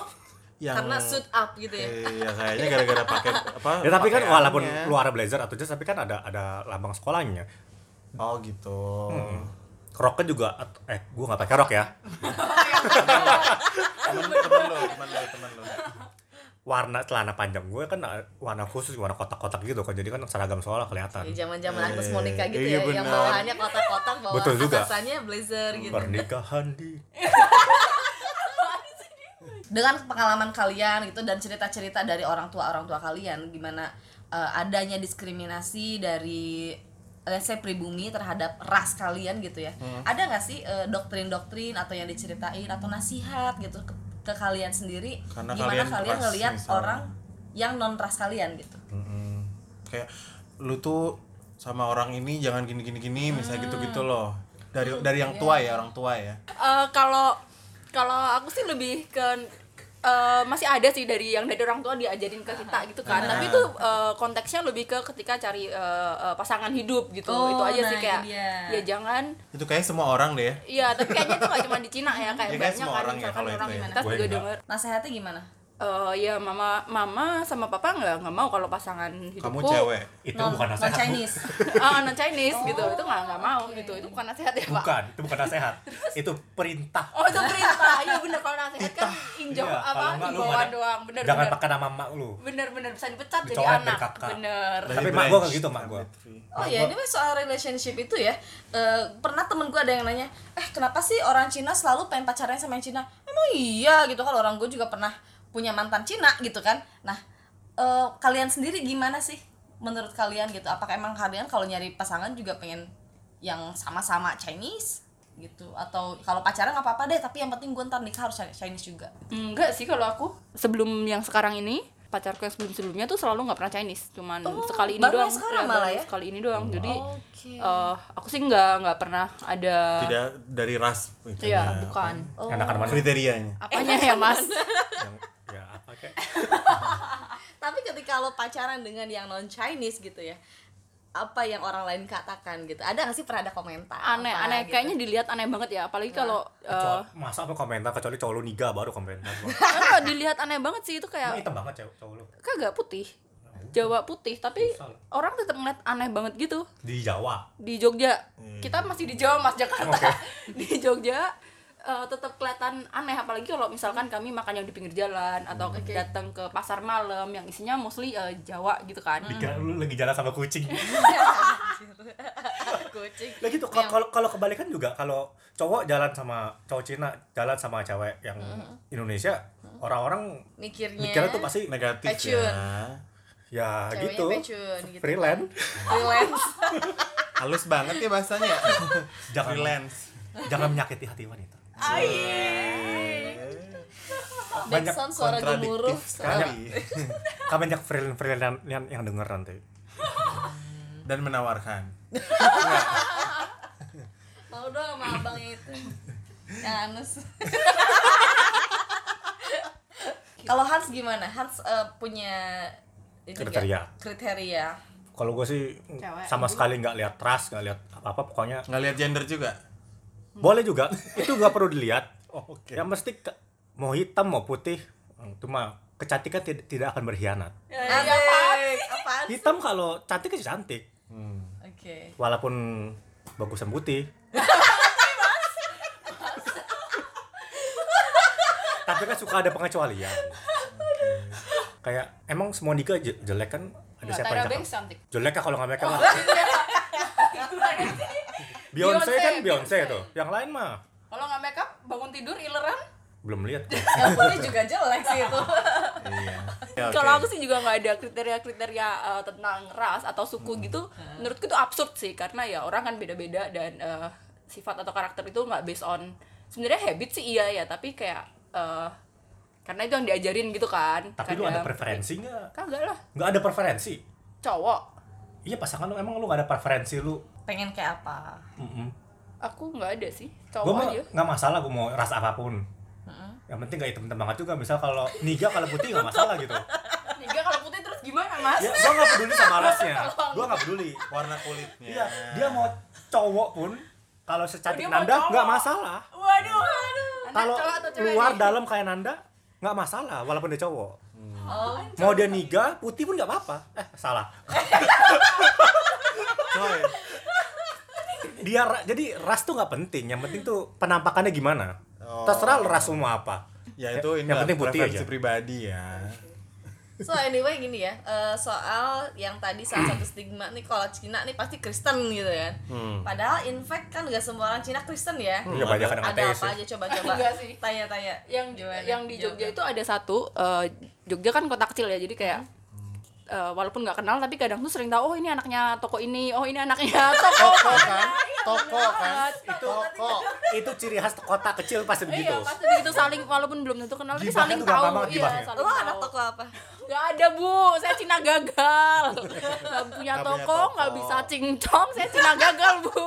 Yang
Karena suit up gitu ya
Iya kayaknya gara-gara pakai apa
Ya tapi kan
pakaiannya.
walaupun luar blazer atau jas tapi kan ada ada lambang sekolahnya.
Oh gitu
Roknya juga at- eh gue nggak pakai rok ya.
Temen lu, temen lu, temen lu, temen lu
Warna celana panjang gue kan uh, warna khusus warna kotak-kotak gitu kan. Jadi kan seragam sekolah kelihatan.
Ya zaman-zaman Agnes Monica gitu ya,
Iya,
yang
benar.
bawahannya kotak-kotak, bawah
Betul juga.
atasannya blazer gitu.
Pernikahan di
Dengan pengalaman kalian gitu dan cerita-cerita dari orang tua orang tua kalian, gimana eh, adanya diskriminasi dari let's say pribumi terhadap ras kalian gitu ya. Ada nggak sih eh, doktrin-doktrin atau yang diceritain atau nasihat gitu ke, ke kalian sendiri?
Karena
gimana
kalian
kalian
ras
ngelihat
misalnya.
orang yang non ras kalian gitu?
Mm-mm. kayak lu tuh sama orang ini jangan gini gini gini misalnya gitu gitu loh dari
Iya.
dari yang tua ya orang tua ya
Eh, kalau kalau aku sih lebih ke eh, masih ada sih dari yang dari orang tua diajarin ke kita gitu kan tapi itu eh, konteksnya lebih ke ketika cari eh, eh, pasangan hidup gitu
Oh,
itu aja
nah,
sih
itu
kayak
dia.
ya jangan
itu kayak semua orang deh ya
Iya, tapi kayaknya itu gak cuma di Cina ya,
Ya, kayak
kayak banyak
semua
kan
orang ya
misalkan
kalau
orang
itu ya.
minoritas
Gue
juga
enggak.
denger.
Nasihatnya gimana?
Eh ya mama mama sama papa nggak nggak mau kalau pasangan hidupku
kamu cewek
itu
non,
bukan
non
nasihat. Bu.
Chinese.
ah non Chinese gitu itu nggak nggak mau gitu itu bukan nasihat ya pak
Bukan, itu bukan nasihat. itu perintah.
oh itu perintah iya bener kalau nasihat kan injau
Iya,
apa
kalau enggak lu
imbauan
mana-
doang bener
Jangan
bener
pakai nama mak lu.
bener bener bisa dipecat jadi
Dicoret dari
anak
kakak.
bener
Dari Tapi mak gua
branch.
nggak gitu, mak gua.
Oh iya, ini mah soal relationship itu ya. Eh, pernah temen gue ada yang nanya, eh kenapa sih orang Cina selalu pengen pacarnya sama yang Cina? Emang iya gitu kan orang gue juga pernah punya mantan Cina gitu kan. Nah, eh, kalian sendiri gimana sih menurut kalian gitu? Apakah emang kalian kalau nyari pasangan juga pengen yang sama-sama Chinese gitu? Atau kalau pacaran nggak apa-apa deh, tapi yang penting gue ntar nikah harus Chinese juga.
enggak sih kalau aku sebelum yang sekarang ini pacarku yang sebelum sebelumnya tuh selalu nggak pernah Chinese cuman sekali ini
baru
doang
yang sekarang
Ya,
malah
Oh, baru
ya?
sekali ini doang jadi
Oke.
eh, aku sih nggak nggak pernah ada
tidak dari ras
Iya,
itunya.
bukan.
Enakan mana?
kriterianya
Apanya ya, Mas?
Yang ya apa
Eh.
kayak
Tapi ketika lo pacaran dengan yang non Chinese gitu ya, apa yang orang lain katakan gitu? Ada nggak sih pernah ada komentar?
Aneh,
apa
aneh.
gitu?
Iya,
Kayaknya dilihat aneh banget ya. Apalagi kalau eh,
masa apa komentar kecuali cowok lu niga baru komentar
karena dilihat aneh banget sih itu
Emang
kayak
hitam banget cowok, cowok lu
kagak putih Jawa putih tapi orang tetap ngeliat aneh banget gitu
di Jawa
di Jogja kita masih di Jawa Mas Jakarta
Hmm. Oke.
di Jogja eh, tetap kelihatan aneh apalagi kalau misalkan kami makan yang di pinggir jalan atau
Hmm.
datang ke pasar malam yang isinya mostly eh, Jawa gitu kan
Dikira lu lagi jalan sama kucing
kucing
lagi tuh gitu,
Iya.
kalau kalau- kalau kebalikan juga kalau cowok jalan sama cowok Cina jalan sama cewek yang
Hmm.
Indonesia orang-orang
mikirnya
mikirnya tuh pasti
Negatif
Pecun.
ya.
ya
Ceweknya
gitu
pecun, gitu.
freelance
freelance
Halus banget ya bahasanya. ya.
jangan
Freelance.
jangan menyakiti hati wanita
backsound suara gemuruh
Kontradiktif sekali.
kan banyak freelance freelance yang, yang denger nanti
Dan menawarkan.
mau dong sama abangnya itu yang anus kalau Hans gimana Hans eh, punya ini nggak?
Kriteria.
kriteria
kalau gue sih
Cewek.
sama sekali nggak lihat ras nggak lihat apa apa pokoknya
Nggak lihat gender juga.
boleh juga itu nggak perlu dilihat
Oh, oke.
yang mesti ke- mau hitam mau putih cuma kecantikan tid- tidak akan berkhianat
Asik. apaan sih?
hitam kalau cantik sih cantik
oke
walaupun bagusan putih tapi kan suka ada pengecualian kayak emang semua Dika je- jelek kan ada siapa yang cakep
Nah, cantik
jelek kah kalau nggak mereka mah
Beyonce,
Beyonce kan
Beyonce.
Beyonce tuh yang lain mah
kalau nggak makeup bangun tidur ileran
belum lihat
yang putih Ya, juga jelek sih itu
Iya. Ya, oke.
kalau aku sih juga nggak ada kriteria-kriteria eh, tentang ras atau
Hmm.
suku gitu menurutku itu absurd sih karena ya orang kan beda-beda dan eh, sifat atau karakter itu nggak based on sebenarnya habit sih iya ya tapi kayak eh, karena itu yang diajarin gitu kan
tapi lu ada
Kadang-
preferensi nggak
kagak lah
nggak ada preferensi
cowok
iya pasangan lu emang lu nggak ada preferensi lu
pengen kayak apa
Mm-mm.
aku nggak ada sih
gue
cowok
mah
aja
nggak masalah gue mau ras apapun yang penting gak hitam-hitam banget juga misal kalau niga kalau putih nggak masalah gitu
Niga kalau putih terus gimana mas
ya gue nggak peduli sama rasnya gue nggak peduli
warna kulitnya.
iya dia mau cowok pun kalau secantik
Oh, dia mau
Nanda
cowok.
nggak masalah
waduh waduh Anak
kalau
cowok atau cewek
luar
nih?
dalam kayak Nanda nggak masalah walaupun dia cowok Hmm.
oh
mau dia niga putih pun nggak apa-apa eh salah
coy.
dia ra- jadi ras tuh nggak penting yang penting tuh penampakannya gimana
Oh.
terserah lu ras lu mau apa
Ya itu ini
yang
lah,
penting putih
preferensi
aja
pribadi ya.
So anyway gini ya, eh, soal yang tadi salah satu stigma nih kalau Cina nih pasti Kristen gitu kan. Padahal in fact kan gak semua orang Cina Kristen ya.
Iya, banyak yang
Ada
ateis
apa
sih.
aja coba-coba
Enggak sih.
tanya-tanya.
yang
Gimana?
yang di Jogja
Jawabnya.
itu ada satu eh, Jogja kan kota kecil ya jadi kayak eh, walaupun nggak kenal tapi kadang tuh sering tahu oh ini anaknya toko ini oh ini anaknya toko
Toko kan? Toko kan? Toko.
itu ciri khas kota kecil pasti begitu
iya pasti begitu saling walaupun belum tentu kenal tapi
Gibahnya
saling
tuh gampang
tahu
banget
iya
gibahnya.
saling
Lo anak
tahu
toko apa?
nggak ada bu saya Cina gagal nggak punya
Nggak punya
toko
toko.
nggak bisa cincong saya Cina gagal bu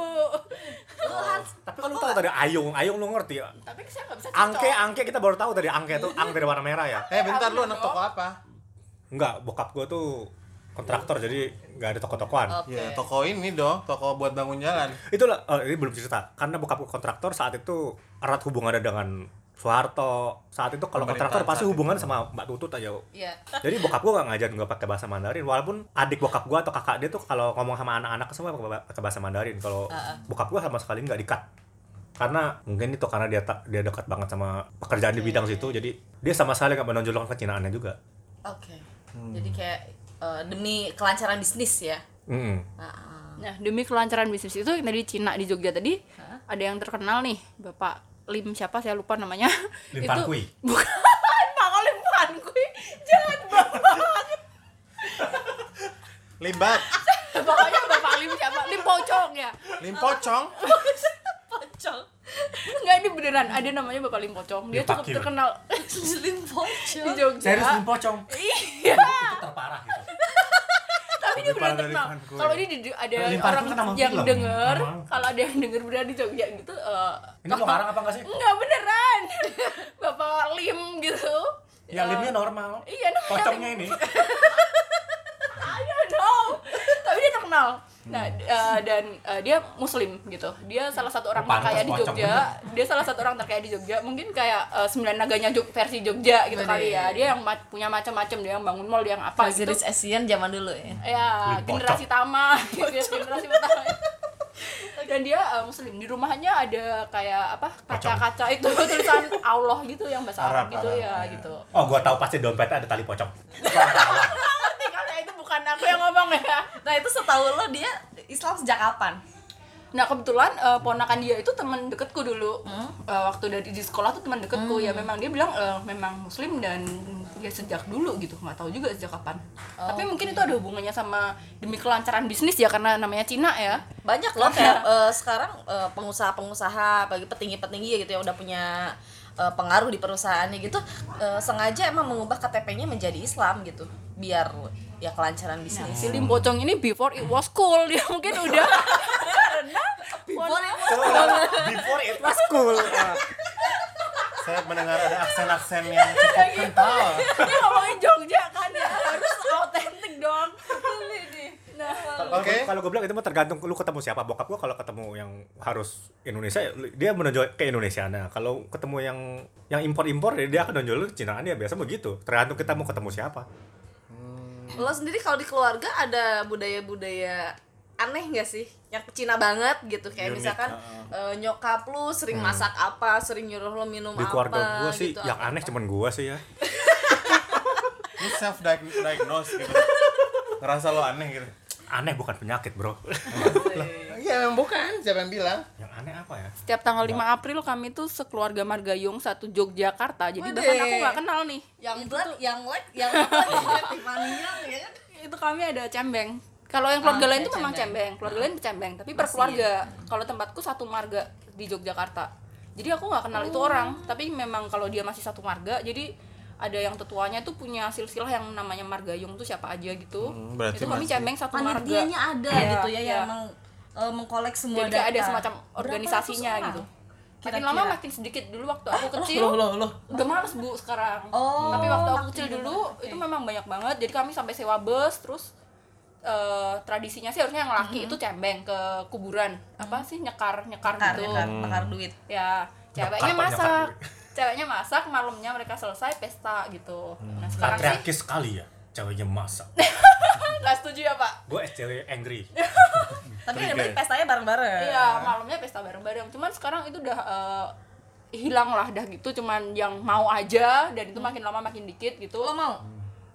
tapi kan lu tahu tadi ayung ayung lu ngerti ya
tapi saya nggak bisa cincong
angke angke kita baru tahu dari angke tuh ang dari warna merah ya
Eh bentar lu
Kamu
anak
dong.
toko apa?
Enggak, bokap gue tuh kontraktor jadi nggak ada toko-tokoan.
Oke.
Ya toko ini dong, toko buat bangun jalan.
Itulah oh, ini belum cerita. Karena bokap gue kontraktor saat itu erat hubungannya dengan Soeharto. Saat itu kalau
Pemerintahan
kontraktor pasti
saat itu.
hubungan sama Mbak Tutut aja.
Iya.
Jadi bokap gue gak ngajarin gue pakai bahasa Mandarin walaupun adik bokap gue atau kakak dia tuh kalau ngomong sama anak-anak semua pakai pakai bahasa Mandarin. Kalau
Heeh.
bokap gue sama sekali nggak dikat. Karena mungkin itu karena dia ta- dia dekat banget sama pekerjaan di bidang situ jadi dia sama sekali nggak menonjolkan kecinaannya juga.
Oke. Jadi kayak eh, demi kelancaran bisnis ya.
Mm-mm.
Heeh.
Nah, demi kelancaran bisnis itu yang dari Cina di Jogja tadi ada yang terkenal nih, Bapak Lim siapa saya lupa namanya.
Lim
Itu-
Pan Kui.
Bukan, Pak Lim Pan Kui. Jangan Bapak.
Limbat,
Pokoknya Bapak Lim siapa? Lim Pocong ya.
limpocong.
Pocong.
Enggak ini beneran, ada namanya Bapak Lim Pocong.
Lim
Dia cukup
Pakil.
terkenal
Slim
di
pocong.
Jogja.
pocong.
Iya,
Itu terparah gitu.
tapi dia
Lebih
beneran
parah dari
terkenal.
Pan Kui.
Kalau ini di- ada
ya. Lim Pan
orang
Kui kan nama
yang
film.
denger,
Nama.
kalau ada yang denger beneran di Jogja gitu eh,
Ini lo ngarang apa enggak sih?
Enggak beneran. Bapak Lim gitu.
Ya limnya normal.
Iya, namanya
Pocongnya ini.
I don't know. Tapi dia terkenal kenal. Nah, d- eh, dan eh, dia muslim gitu. Dia salah satu orang
Pantes
terkaya di
pocong.
Jogja. Dia salah satu orang terkaya di Jogja. Mungkin kayak eh, sembilan naganya Jog versi Jogja gitu
Waduh.
kali ya. Dia yang ma- punya macam-macam, dia yang bangun mall, dia yang apa
Pasti
gitu.
Rich Asian zaman dulu ya.
Ya,
Beli
generasi Tama, generasi pertama. Dan dia eh, muslim. Di rumahnya ada kayak apa? kaca-kaca itu tulisan Allah gitu yang bahasa Arab,
Arab,
gitu
Arab,
ya,
ya.
gitu.
Oh, gua tahu pasti dompetnya ada tali pocong.
Ngerti kan ya, itu bukan aku yang ngomong ya.
Nah itu setahu lo dia Islam sejak kapan?
Nah kebetulan eh, ponakan dia itu teman deketku dulu Eh, waktu dari di sekolah tuh teman deketku ya memang dia bilang eh, memang muslim dan dia sejak dulu gitu nggak tahu juga sejak kapan tapi mungkin itu ada hubungannya sama demi kelancaran bisnis ya karena namanya Cina ya
Banyak loh kayak eh, sekarang eh, pengusaha-pengusaha, bagi petinggi-petinggi gitu yang udah punya eh, pengaruh di perusahaannya gitu eh, sengaja emang mengubah KTP-nya menjadi Islam gitu biar ya kelancaran bisnis.
si Lim Bocong ini before it was cool dia mungkin udah
Boleh.
Before it was cool. Nah,
Saya mendengar ada aksen-aksen yang cukup kental.
dia ngomongin Jogja kan
Nah.
ya harus autentik dong nah
Oke.
Kalau gue bilang itu mah tergantung lu ketemu siapa. Bokap gua kalau ketemu yang harus Indonesia lu- dia menonjol ke Indonesia. Nah, kalau ketemu yang yang impor-impor ya dia akan nonjol lu Cinaan dia biasa begitu. Tergantung kita mau ketemu siapa.
Lo sendiri kalau di keluarga ada budaya-budaya aneh nggak sih? Yang Cina banget gitu kayak
Unik,
misalkan eh, nyokap lu sering masak apa, sering nyuruh lo minum
Hmm. Di keluarga
apa
gua sih
gitu,
yang
apa.
aneh cuman gua sih ya.
Lu self diagnose gitu. Ngerasa lo aneh gitu.
Aneh bukan penyakit, Bro.
Iya, memang bukan. Siapa yang bilang?
yang aneh apa ya?
setiap tanggal 5 April kami tuh sekeluarga Margayung satu Yogyakarta jadi bahkan
Wede.
aku nggak kenal nih
yang blood, yang leg, yang apa, yang leg, Tiffany-nya, ya kan?
itu kami ada cembeng kalau yang keluarga
Ah,
lain
ada
itu memang
cembeng.
cembeng
Ah.
keluarga lain cembeng tapi per keluarga kalau tempatku satu marga di Yogyakarta jadi aku nggak kenal itu
Oh.
orang tapi memang kalau dia masih satu marga jadi ada yang tetuanya itu punya silsilah yang namanya margayung tuh siapa aja gitu
Hmm, berarti
itu kami
masih-
cembeng satu marga
panitianya ada
Iya,
gitu ya yang
iya.
meng, eh, mengkolek semua
jadi kayak ada
data.
semacam
Berapa
organisasinya
ratus orang? Iya.
gitu makin
Kira-kira.
lama makin sedikit dulu waktu aku kecil
Ah, Loh, loh, loh.
udah males bu sekarang
Oh,
tapi waktu aku
makin
kecil
banyak.
dulu
Oke.
itu memang banyak banget jadi kami sampai sewa bus terus eh, tradisinya sih harusnya yang laki itu cembeng ke kuburan apa sih nyekar nyekar
Bakar,
gitu
bakar,
Hmm.
bakar duit.
ya ceweknya
Nyekar,
masak
nyekar.
ceweknya masak malamnya mereka selesai pesta gitu
Hmm,
nah sekarang sih
Patriarkis sekali ya. Ceweknya masak.
nggak setuju ya pak
Gua SCW angry.
Tapi yang penting
Curiga.
ya
pestanya bareng-bareng.
Iya, malamnya pesta bareng-bareng. Cuman sekarang itu udah eh, hilang lah dah gitu. Cuman yang mau aja dan itu makin lama makin dikit gitu.
Lo mau?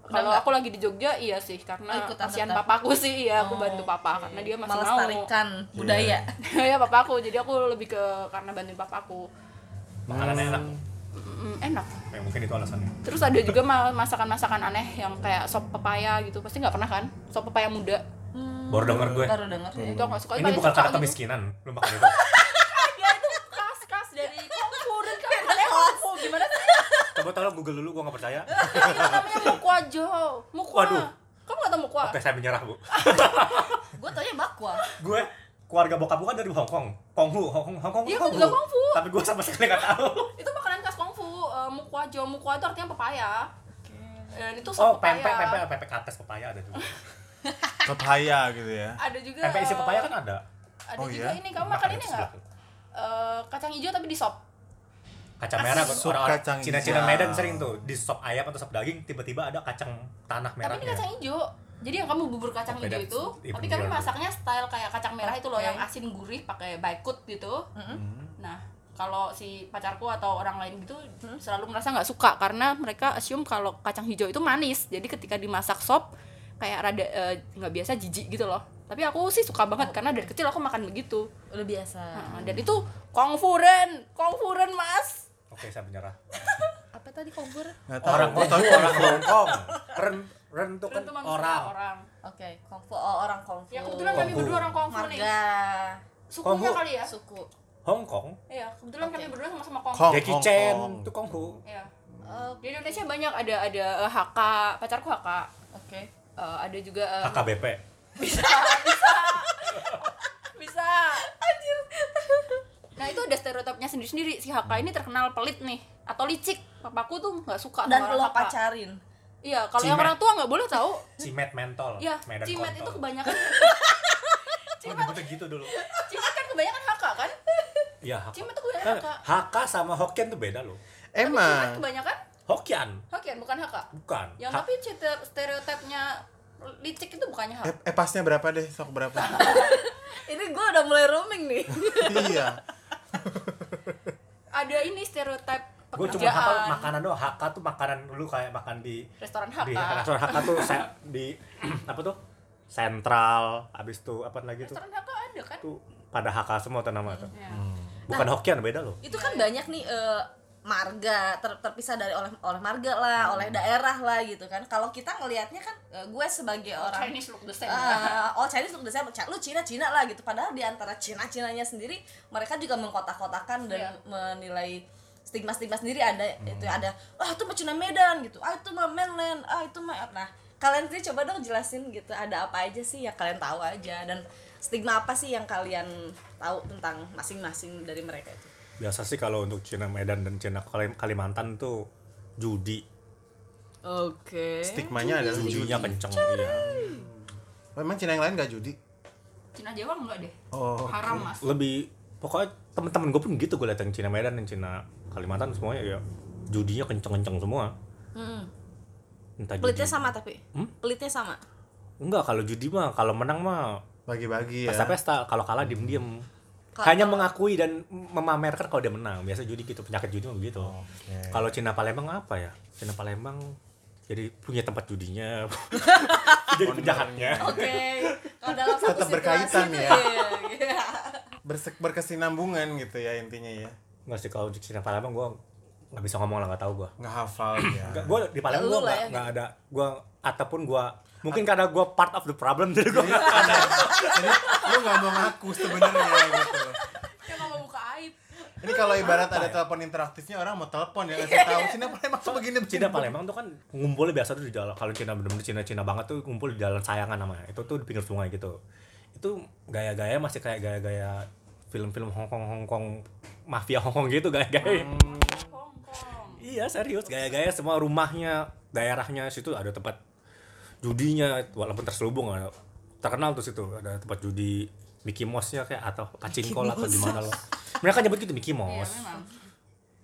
Udah
Kalau
nggak?
aku lagi di Jogja iya sih karena
Oh, ikut
kasihan
tetap.
papaku sih iya aku
Oh,
bantu papa
oke.
karena dia masih mau.
melestarikan budaya.
Iya, papaku. Jadi aku lebih ke karena bantuin papaku.
Makanan enak.
Mm, enak.
Ya, mungkin itu alasannya.
Terus ada juga ma- masakan-masakan aneh yang kayak sop pepaya gitu. Pasti nggak pernah kan? Sop pepaya muda.
Baru denger gue.
Baru denger. ya.
Itu aku nggak suka.
Ini
paling
bukan
suka
karena
gitu.
kemiskinan, lu makan itu.
Ya itu khas-khas dari kongfu dan kayak kongfu. Gimana sih?
Coba tolong Google dulu, gua nggak percaya.
Iya, namanya mukwa Jo. Mukwa.
Waduh.
Kamu gak tau mukwa?
Oke, saya menyerah, Bu.
Gue tanya bakwa.
gue keluarga bokap gue kan dari Hong Kong. Konghu, Hong Kong, Hong Kong.
Iya,
Hong
juga
Kong.
Konghu.
Tapi gue sama sekali gak tahu.
Itu makanan khas kongfu. eh, mukwa Jo. Mukwa itu artinya pepaya. Dan itu
Oh,
sop pepaya.
pempek, pempek, pempek atas pepaya ada juga.
Iya.
Pepaya gitu ya.
Ada juga.
Pempek isi pepaya kan ada.
Ada
Oh, iya?
juga ini. Kamu makan ini
Makan
gak?
sebelah.
Eh, kacang hijau tapi di sop.
Kacang merah buat
Sup
orang-orang
kacang
Cina-Cina
hijau.
Medan sering tuh di sop ayam atau sop daging tiba-tiba ada kacang tanah
Tapi ini
merahnya.
kacang hijau. Jadi yang kamu bubur kacang
iya. Oh, beda.
hijau itu,
Iya,
tapi
bener.
kami masaknya style kayak kacang merah itu loh,
Oke.
yang asin gurih pakai baikut gitu.
Hmm.
Nah, kalau si pacarku atau orang lain gitu selalu merasa nggak suka karena mereka assume kalau kacang hijau itu manis. Jadi ketika dimasak sop kayak rada eh, nggak biasa jijik gitu loh. Tapi aku sih suka banget karena dari kecil aku makan begitu.
Udah biasa.
Nah, dan itu kongfuren, kongfuren mas.
Oke, saya menyerah.
Apa tadi kongfuren?
Nggak tahu.
Orang
Gua
Hong
tahu
Kong,
orang
orang Hong Kong. Ren, ren tuh kan
Itu manusia
orang.
orang.
Oke, kongfu oh, orang kongfu.
Ya kebetulan kami
Kongfu.
berdua orang kongfu nih.
marga
Sukunya
Kongfu.
kali ya.
suku.
Hong Kong,
Iya, kebetulan kami berdua sama-sama kongfu.
Kong,
Jackie
Hong
Chan,
Kong.
itu Konghu.
Iya.
Oh,
Di Indonesia banyak ada ada eh, HK, pacarku HK.
Oke.
Eh, ada juga eh,
AKBP.
bisa nah itu ada stereotipnya sendiri-sendiri si Haka ini terkenal pelit nih atau licik papaku tuh nggak suka
Dan
sama
lo
Haka.
pacarin.
iya kalau yang
Cimet.
orang tua nggak boleh tahu
Cimet mentol.
iya
Medan
cimet itu
kontol.
kebanyakan
Oh, nyebutnya gitu dulu.
Cima kan kebanyakan haka kan?
Iya, Hakka.
Cima tuh kebanyakan
Eh,
haka.
Hakka sama Hokkien tuh beda loh.
Cima
Emang.
kebanyakan
Hokkien,
Hokkien bukan haka.
bukan.
Yang
Ha-
Ya, tapi cete- stereotipnya licik itu bukannya haka.
Eh, eh, pasnya berapa deh? Sok berapa?
Ini gue udah mulai roaming nih.
iya.
Ada ini stereotip
Gue cuma hafal
pekerjaan.
makanan doang. Hakka tuh makanan dulu kayak makan di
Restoran
di
haka.
restoran Hakka tuh se- di apa tuh? Sentral, abis tuh apa lagi tuh?
Restoran haka ada kan?
Tuh pada Hakka semua tuh nama tuh. Hmm.
Ya.
Bukan Hokkien beda loh.
Itu
Iya,
kan banyak nih eh, marga ter- terpisah dari oleh oleh marga lah,
Hmm.
oleh daerah lah gitu kan. Kalau kita ngelihatnya kan eh, gue sebagai orang
Chinese ya. look the same. kan?
Eh, oh Chinese look the same, Ca- lu Cina Cina lah gitu. Padahal di antara Cina Cinanya sendiri mereka juga mengkotak-kotakan dan
Iya. Hmm.
menilai stigma-stigma sendiri ada itu ada ah itu mah Cina Medan gitu. Ah itu mah mainland. Ah itu mah nah kalian sendiri coba dong jelasin gitu ada apa aja sih yang kalian tahu aja dan stigma apa sih yang kalian tahu tentang masing-masing dari mereka itu.
Biasa sih kalau untuk Cina Medan dan Cina Kalim- Kalimantan tuh judi.
Oke.
Stigmanya adalah judi.
Judinya kenceng iya.
Memang Cina yang lain gak judi?
Cina Jawa enggak deh.
Oh.
Haram mas.
Lebih pokoknya temen-temen gue pun gitu gue liat yang Cina Medan dan Cina Kalimantan semuanya ya judinya kenceng-kenceng semua. Entah judi.
gitu.
Pelitnya Hmm. sama tapi.
Hmm?
Pelitnya sama.
Enggak, kalau judi mah kalau menang mah
Bagi-bagi ya.
pesta-pesta, kalau kalah diem-diem.
Kalau-
Hanya mengakui dan memamerkan kalau dia menang. Biasa judi gitu, penyakit judi mah begitu.
Oke.
Kalau Cina Palembang apa ya? Cina Palembang jadi punya tempat judinya. jadi penjahatnya.
Oke. Kalau dalam satu
Tetap
situasi
berkaitan
itu,
ya.
iya, iya.
Berse- berkesinambungan gitu ya intinya ya.
Enggak sih kalau di Cina Palembang gua nggak bisa ngomong lah, nggak tahu gua.
Nggak hafal ya.
Nggak, gua di Palembang
Lu
gua
lah
nggak
ya,
nggak ada gua ataupun gua mungkin karena gua part of the problem jadi gua
Iya.
nggak-
Jadi lu nggak mau ngaku sebenarnya gitu.
Dia nggak mau Ya, buka aib.
Ini kalau ibarat
ya?
ada telepon interaktifnya orang mau telepon ya ngasih tahu Cina Palembang tuh begini
Cina Palembang tuh kan ngumpulnya biasa tuh di jalan kalau Cina bener-bener Cina-Cina banget tuh ngumpul di jalan sayangan namanya itu tuh di pinggir sungai gitu itu gaya-gaya masih kayak gaya-gaya film-film Hongkong Hongkong mafia Hongkong gitu gaya-gaya
Hongkong.
iya serius gaya-gaya semua rumahnya daerahnya situ ada tempat judinya walaupun terselubung ada terkenal tuh situ ada tempat judi Mickey Mouse-nya kayak atau pachinko lah atau gimana loh mereka nyebut gitu Mickey
Iya
Mouse
memang.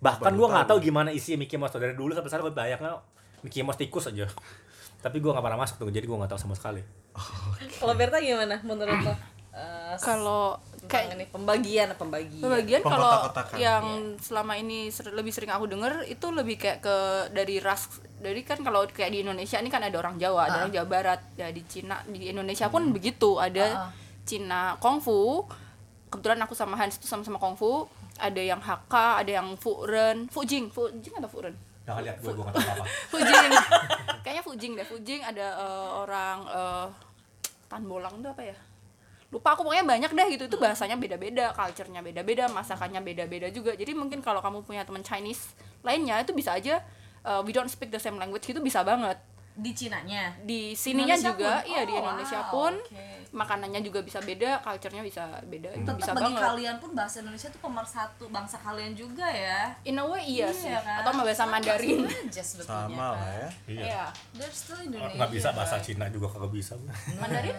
bahkan
Baru
gue nggak
tahu.
tahu gimana isi Mickey Mouse tuh. dari dulu sampai sekarang gue bayangnya Mickey Mouse tikus aja tapi gue nggak pernah masuk tuh jadi gue nggak tahu sama sekali
Kalau Berta gimana menurut lo? Eh,
Kalau
tentang
kayak
ini pembagian pembagian.
Bagian kalau
Pengkotak-kotakan.
yang selama ini ser- lebih sering aku denger itu lebih kayak ke dari ras dari kan kalau kayak di Indonesia ini kan ada orang Jawa, ada orang Jawa Barat, ya di Cina, di Indonesia pun begitu ada Cina kungfu. Kebetulan aku sama Hans itu sama-sama kungfu. Ada yang Hakka, ada yang Furen, Fujing, Fujing atau Furen?
jangan lihat gue gue nggak tahu apa
Fujing. Kayaknya Fujing deh. Fujing ada eh, orang eh, Tanbolang tuh apa ya? Lupa aku pokoknya banyak deh gitu. Itu bahasanya beda-beda, culture-nya beda-beda, masakannya beda-beda juga. Jadi mungkin kalau kamu punya teman Chinese lainnya itu bisa aja eh, we don't speak the same language gitu bisa banget.
di Cinanya.
Di sininya
Indonesia
juga,
pun?
iya di
Oh,
Indonesia
wow,
pun
oke.
makanannya juga bisa beda, culture-nya bisa beda. Itu bisa
Tetap bagi
banget.
kalian pun bahasa Indonesia tuh pemersatu bangsa kalian juga ya.
In a way iya, sih.
kan?
Atau bahasa
Sama
Mandarin.
aja sebetulnya,
Sama
kan?
lah ya.
iya
Iya.
There's still Indonesia.
nggak bisa bahasa Cina juga kagak bisa
Mandarin,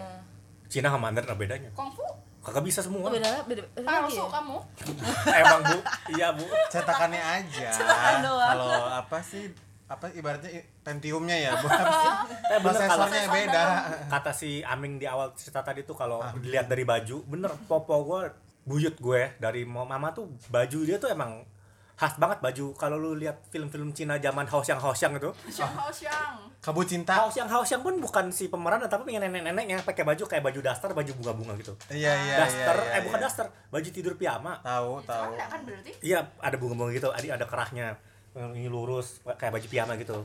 Cina sama Mandarin ada bedanya
kungfu,
kagak bisa semua
Oh, beda beda.
Ah,
beda lagi
palsu
ya?
kamu.
emang bu iya bu
Cetakannya aja.
doang.
Kalau apa sih apa ibaratnya i- pentiumnya ya buat bahasa
kalau-
esornya beda.
kata si Aming di awal cerita tadi tuh kalau dilihat dari baju bener popo gue buyut gue dari mo- mama tuh baju dia tuh emang khas banget baju kalau lu lihat film-film Cina zaman Haoxiang Haoxiang itu
Xiang hao xiang.
Kabu cinta.
House yang House yang pun bukan si pemeran tapi pengen nenek-nenek yang pakai baju kayak baju daster, baju bunga-bunga gitu.
Iya iya iya.
daster,
iya,
eh bukan
iya.
daster, baju tidur piyama.
Tahu tahu.
Enggak kan berarti?
Iya, ada bunga-bunga gitu, ada ada kerahnya. Ini lurus kayak baju piyama gitu.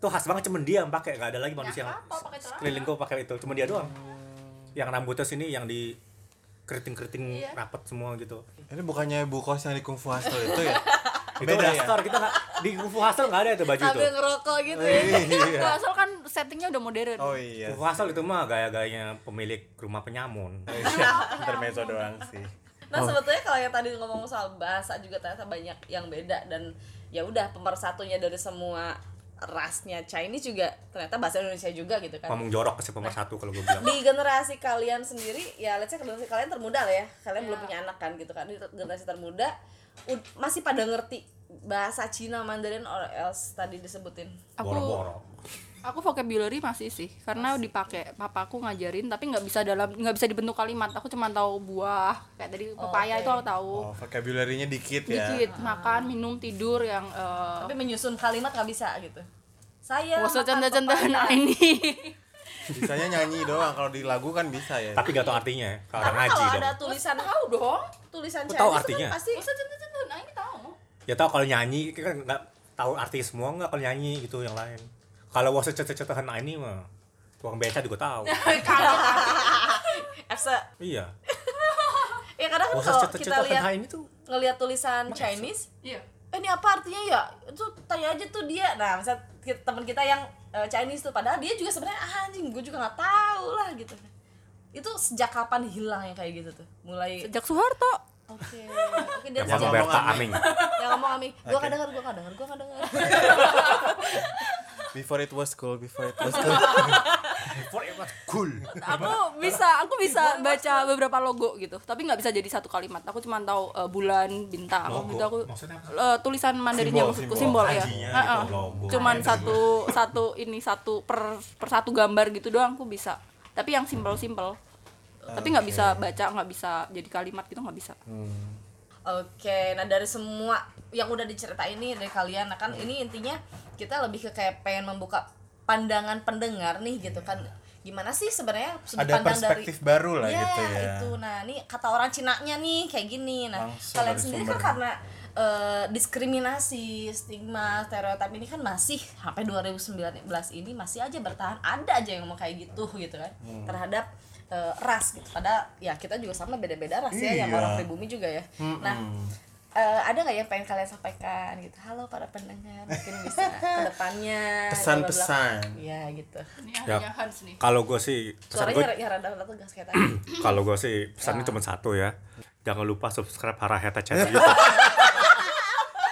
Itu khas banget cuman dia yang pakai, nggak ada lagi manusia yang
apa, pakai celana.
keliling gua pakai itu, cuman dia doang.
Hmm.
Yang rambutnya sini yang di keriting-keriting
Iya.
rapet semua gitu.
Ini bukannya Bu Kos yang di Kung Fu Hustle itu ya?
Itu
Beda ya?
daster, kita nggak di Kung Fu Hustle nggak ada itu baju itu.
Sambil ngerokok gitu ya.
Iya.
Gua asal kan settingnya udah modern.
Oh iya.
Kung Fu Hustle itu mah gaya-gayanya pemilik rumah penyamun.
Iya, intermezzo doang sih.
Oh.
Nah sebetulnya kalau yang tadi ngomong soal bahasa juga ternyata banyak yang beda dan ya udah pemersatunya dari semua rasnya Chinese juga ternyata bahasa Indonesia juga gitu kan.
ngomong jorok ke si pemersatu kalau gue bilang
Di generasi kalian sendiri ya let's say generasi kalian termuda lah ya. Kalian belum punya anak kan gitu kan. Di generasi termuda ud- masih pada ngerti bahasa Cina Mandarin or else tadi disebutin.
aku
boro-boro
aku vocabulary masih sih karena dipakai papaku ngajarin tapi nggak bisa dalam nggak bisa dibentuk kalimat aku cuma tahu buah kayak tadi pepaya
oke.
itu aku tahu
Oh, vocabulary-nya dikit ya.
dikit makan minum tidur yang eh,
Tapi menyusun kalimat nggak bisa gitu. Saya
Bosan
makan
canda-candaan
pepaya.
ini.
Bisanya nyanyi doang kalau di lagu kan bisa ya.
tapi gak tau artinya ya kalau orang
Karena
ngaji
kalau
dong
ada tulisan
tahu dong.
tulisan
Lu
Chinese
tahu
itu kan
artinya?
pasti
Bosan canda-candaan ini tahu.
ya tau kalau nyanyi kan nggak tahu artis semua nggak kalau nyanyi gitu yang lain kalau wasa cecet-cetehan ini mah tukang beca juga tahu
Asa-
iya
ya kadang kan
wasa
kalau kita lihat
cecet-cetehan ini tuh
ngelihat tulisan Chinese
Iya.
eh, ini apa artinya ya itu tanya aja tuh dia nah misal ki- teman kita yang eh, Chinese tuh padahal dia juga sebenarnya ah, anjing gue juga nggak tahu lah gitu itu sejak kapan hilangnya kayak gitu tuh mulai oke
Sejak Soeharto.
oke dari
yang
sejak
sama
ngomong
Berta
apa?
Aming
yang ngomong Ami gue
Oke.
nggak denger gue nggak denger gue nggak denger
Before it was cool, before it was cool.
before it was cool
Aku bisa, aku bisa baca beberapa logo gitu, tapi nggak bisa jadi satu kalimat. Aku cuma tahu eh, bulan, bintang
Logo?
gitu aku
Maksudnya apa?
eh, tulisan Mandarinnya
Simbol,
maksudku
simbol.
simbol, ya.
Hajinya
Heeh.
gitu, logo.
Cuman
Gitu.
satu satu ini satu per per satu gambar gitu doang aku bisa. Tapi yang simpel-simpel. Tapi nggak bisa baca, nggak bisa jadi kalimat gitu nggak bisa.
Hmm.
Oke, nah dari semua yang udah diceritain ini dari kalian, nah kan ini intinya kita lebih ke kayak pengen membuka pandangan pendengar nih gitu kan. Gimana sih sebenarnya sudut
Ada
pandang dari
perspektif baru lah
Iya,
gitu ya.
itu. Nah, ini kata orang Cinanya nih kayak gini. Nah,
Langsung
kalian
dari
sendiri kan
sumbernya.
karena eh, diskriminasi, stigma, stereotip ini kan masih sampai 2019 ini masih aja bertahan. Ada aja yang ngomong kayak gitu gitu kan
Hmm.
terhadap eh, ras gitu. Padahal ya kita juga sama beda-beda ras ya yang
Iya.
orang pribumi juga ya. Nah, eh, ada nggak yang pengen kalian sampaikan gitu? Halo para pendengar, mungkin bisa ke depannya
Pesan-pesan.
Iya gitu.
Ini
Ya. hanya
Hans nih.
kalau gue sih pesan gue
Suaranya ya rada-rada tegas kayak tadi.
kalau gue sih pesannya
Ah.
cuma satu ya jangan lupa subscribe Haraheta channel YouTube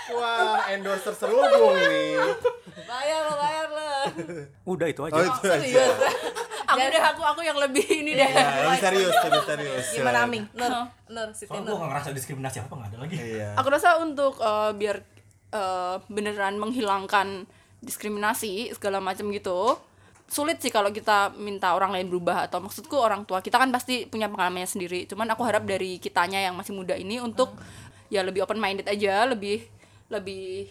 Wah, endorser selubung nih.
Oh, bayar lo, bayar lo.
udah itu aja
Oh, itu aja.
Serius.
Aku deh aku aku yang lebih ini deh.
Iya.
Ya, ini serius, serius, serius.
Gimana
Silakan.
Aming? Nur, Nur, Siti
Soalnya gue
Nur.
gak ngerasa diskriminasi apa gak ada lagi
Iya.
Aku rasa untuk eh, biar eh, beneran menghilangkan diskriminasi segala macam gitu sulit sih kalau kita minta orang lain berubah atau maksudku orang tua kita kan pasti punya pengalamannya sendiri cuman aku harap dari kitanya yang masih muda ini untuk ya lebih open minded aja lebih lebih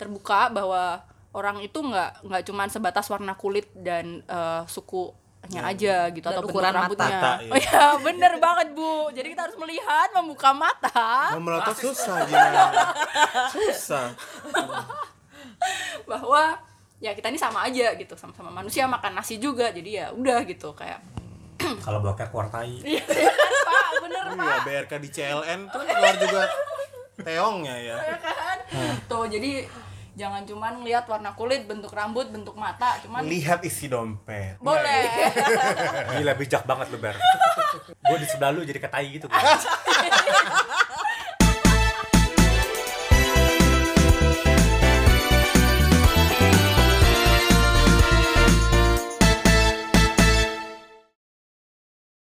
terbuka bahwa orang itu nggak nggak cuman sebatas warna kulit dan eh, sukunya aja gitu
Dan
atau bentuk
ukuran mata.
rambutnya
Mata, iya.
oh ya bener banget bu jadi kita harus melihat membuka mata
Mau melotot susah gimana? Susah.
bahwa ya kita ini sama aja gitu sama-sama manusia makan nasi juga jadi ya udah gitu kayak
kalau bloknya keluar tai
pak bener
Iya, BRK di CLN tuh keluar juga teongnya ya.
kan tuh jadi jangan cuman ngelihat warna kulit bentuk rambut bentuk mata cuman
Lihat isi dompet.
boleh
gila bijak banget lu Ber gue di sebelah lu jadi ketai gitu gua.